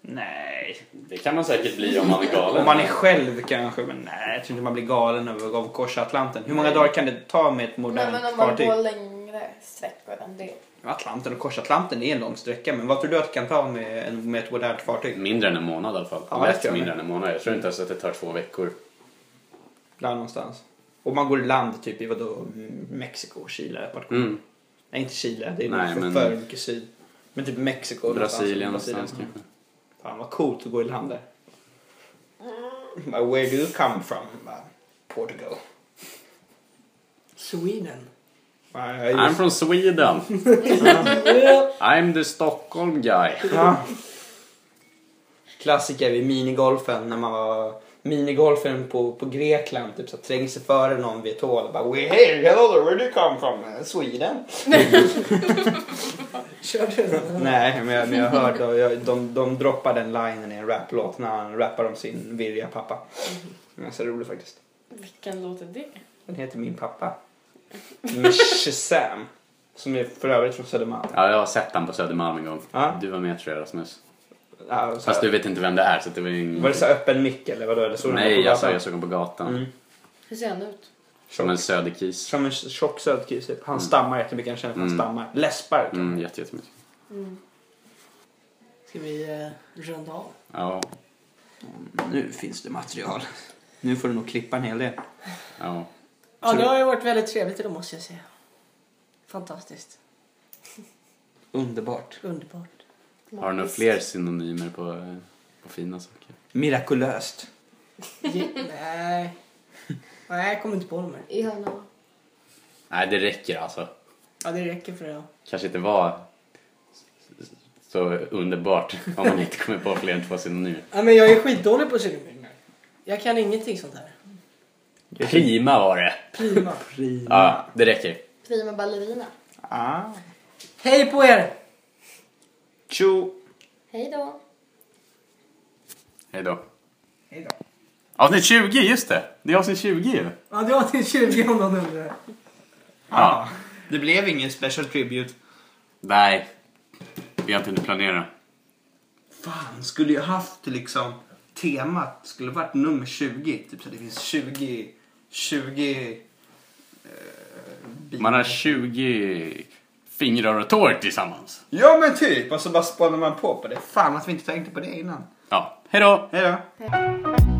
S2: Nej.
S1: Det kan man säkert bli om man är galen.
S2: Om man är själv kanske, men nej, jag tror inte man blir galen över att korsa Atlanten. Hur många dagar kan det ta med ett
S4: Nej,
S2: modernt
S4: men om man
S2: fartyg?
S4: går länge längre sträckor än det.
S2: Atlanten och Korsatlanten är en lång sträcka, men vad tror du att det kan ta med, en- med ett modernt fartyg?
S1: Mindre än en månad i alla fall.
S2: Ja, det
S1: Lätt
S2: tror jag
S1: mindre än en månad. Jag tror inte ens att det tar två veckor.
S2: Där någonstans. Och man går i land typ i vadå, mm, Mexiko, Chile? Vart går
S1: Mm.
S2: Nej, inte Chile. Det är
S1: Nej,
S2: för,
S1: men-
S2: för mycket syd. Men typ Mexiko.
S1: Brasilien någonstans typ. kanske.
S2: Fan vad coolt att gå i land där. Bara, Where do you come from? Bara, Portugal.
S3: Sweden.
S2: Bara, just-
S1: I'm from Sweden. I'm the Stockholm guy.
S2: Ja. Klassiker vid minigolfen när man var minigolfen på, på Grekland typ så här, trängde sig före någon vid ett hål och bara "We- Hey, hello there, where do you come from? "Uh, Sweden?
S3: Körde du den?
S2: Nej, men jag, men jag hörde och jag, de, de droppar den linen i en raplåt när han rappar om sin virriga pappa. Den är så rolig faktiskt.
S6: Vilken låt är det?
S2: Den heter Min pappa. Med Shazam. Som är för övrigt från Södermalm.
S1: Ja, jag har sett han på Södermalm en gång.
S2: Ja.
S1: Du var med tror jag Rasmus.
S2: Ja, så-
S1: Fast du vet inte vem det är så det var ju ingen...
S2: Var det så här öppen mick eller vadå? Eller så
S1: Nej, jag sa jag såg honom på gatan.
S2: Mm.
S6: Hur ser han ut?
S1: Som en söderkis.
S2: Som en tjock söt kille, typ. Han stammar jättemycket, han känner att han
S1: Mm.
S2: stammar. Läspar. typ.
S1: Mm, jätte, jättemycket.
S3: Ska vi eh, runda av?
S1: Ja,
S2: Nu finns det material. Nu får du nog klippa en hel del.
S1: ja.
S3: Ja, det har ju varit väldigt trevligt idag måste jag säga. Fantastiskt.
S2: Underbart.
S3: Underbart.
S1: Har du några fler synonymer på, eh, på fina saker?
S2: Mirakulöst.
S3: Ge- Nej. Nej, jag kommer inte på dem här.
S4: I hörna.
S1: Nej, det räcker alltså.
S3: Ja, det räcker för idag.
S1: Kanske inte var så underbart om man inte kommer på fler än två synonymer.
S3: Ja, men jag är skitdålig på synonymer. Jag kan ingenting sånt här.
S1: Prima var det.
S3: Prima.
S2: Prima.
S1: Ja, det räcker.
S4: Prima ballerina.
S2: Ah.
S3: Hej på er!
S2: Tjo.
S4: Hej då!
S1: Hej då.
S3: Hej
S1: Avsnitt 20, just det! Det är avsnitt 20 ju.
S3: Ja, det var till 20 om någon undrar.
S1: Ja.
S2: Det blev ingen special tribute.
S1: Nej, vi har inte hunnit planera.
S2: Fan, skulle ju haft liksom temat skulle varit nummer 20. Typ så det finns 20, 20... Eh,
S1: Man har 20 fingrar och tår tillsammans.
S2: Ja men typ! Och så bara spånar man på på det. Fan att vi inte tänkte på det innan.
S1: Ja, hej då!
S2: Hej då!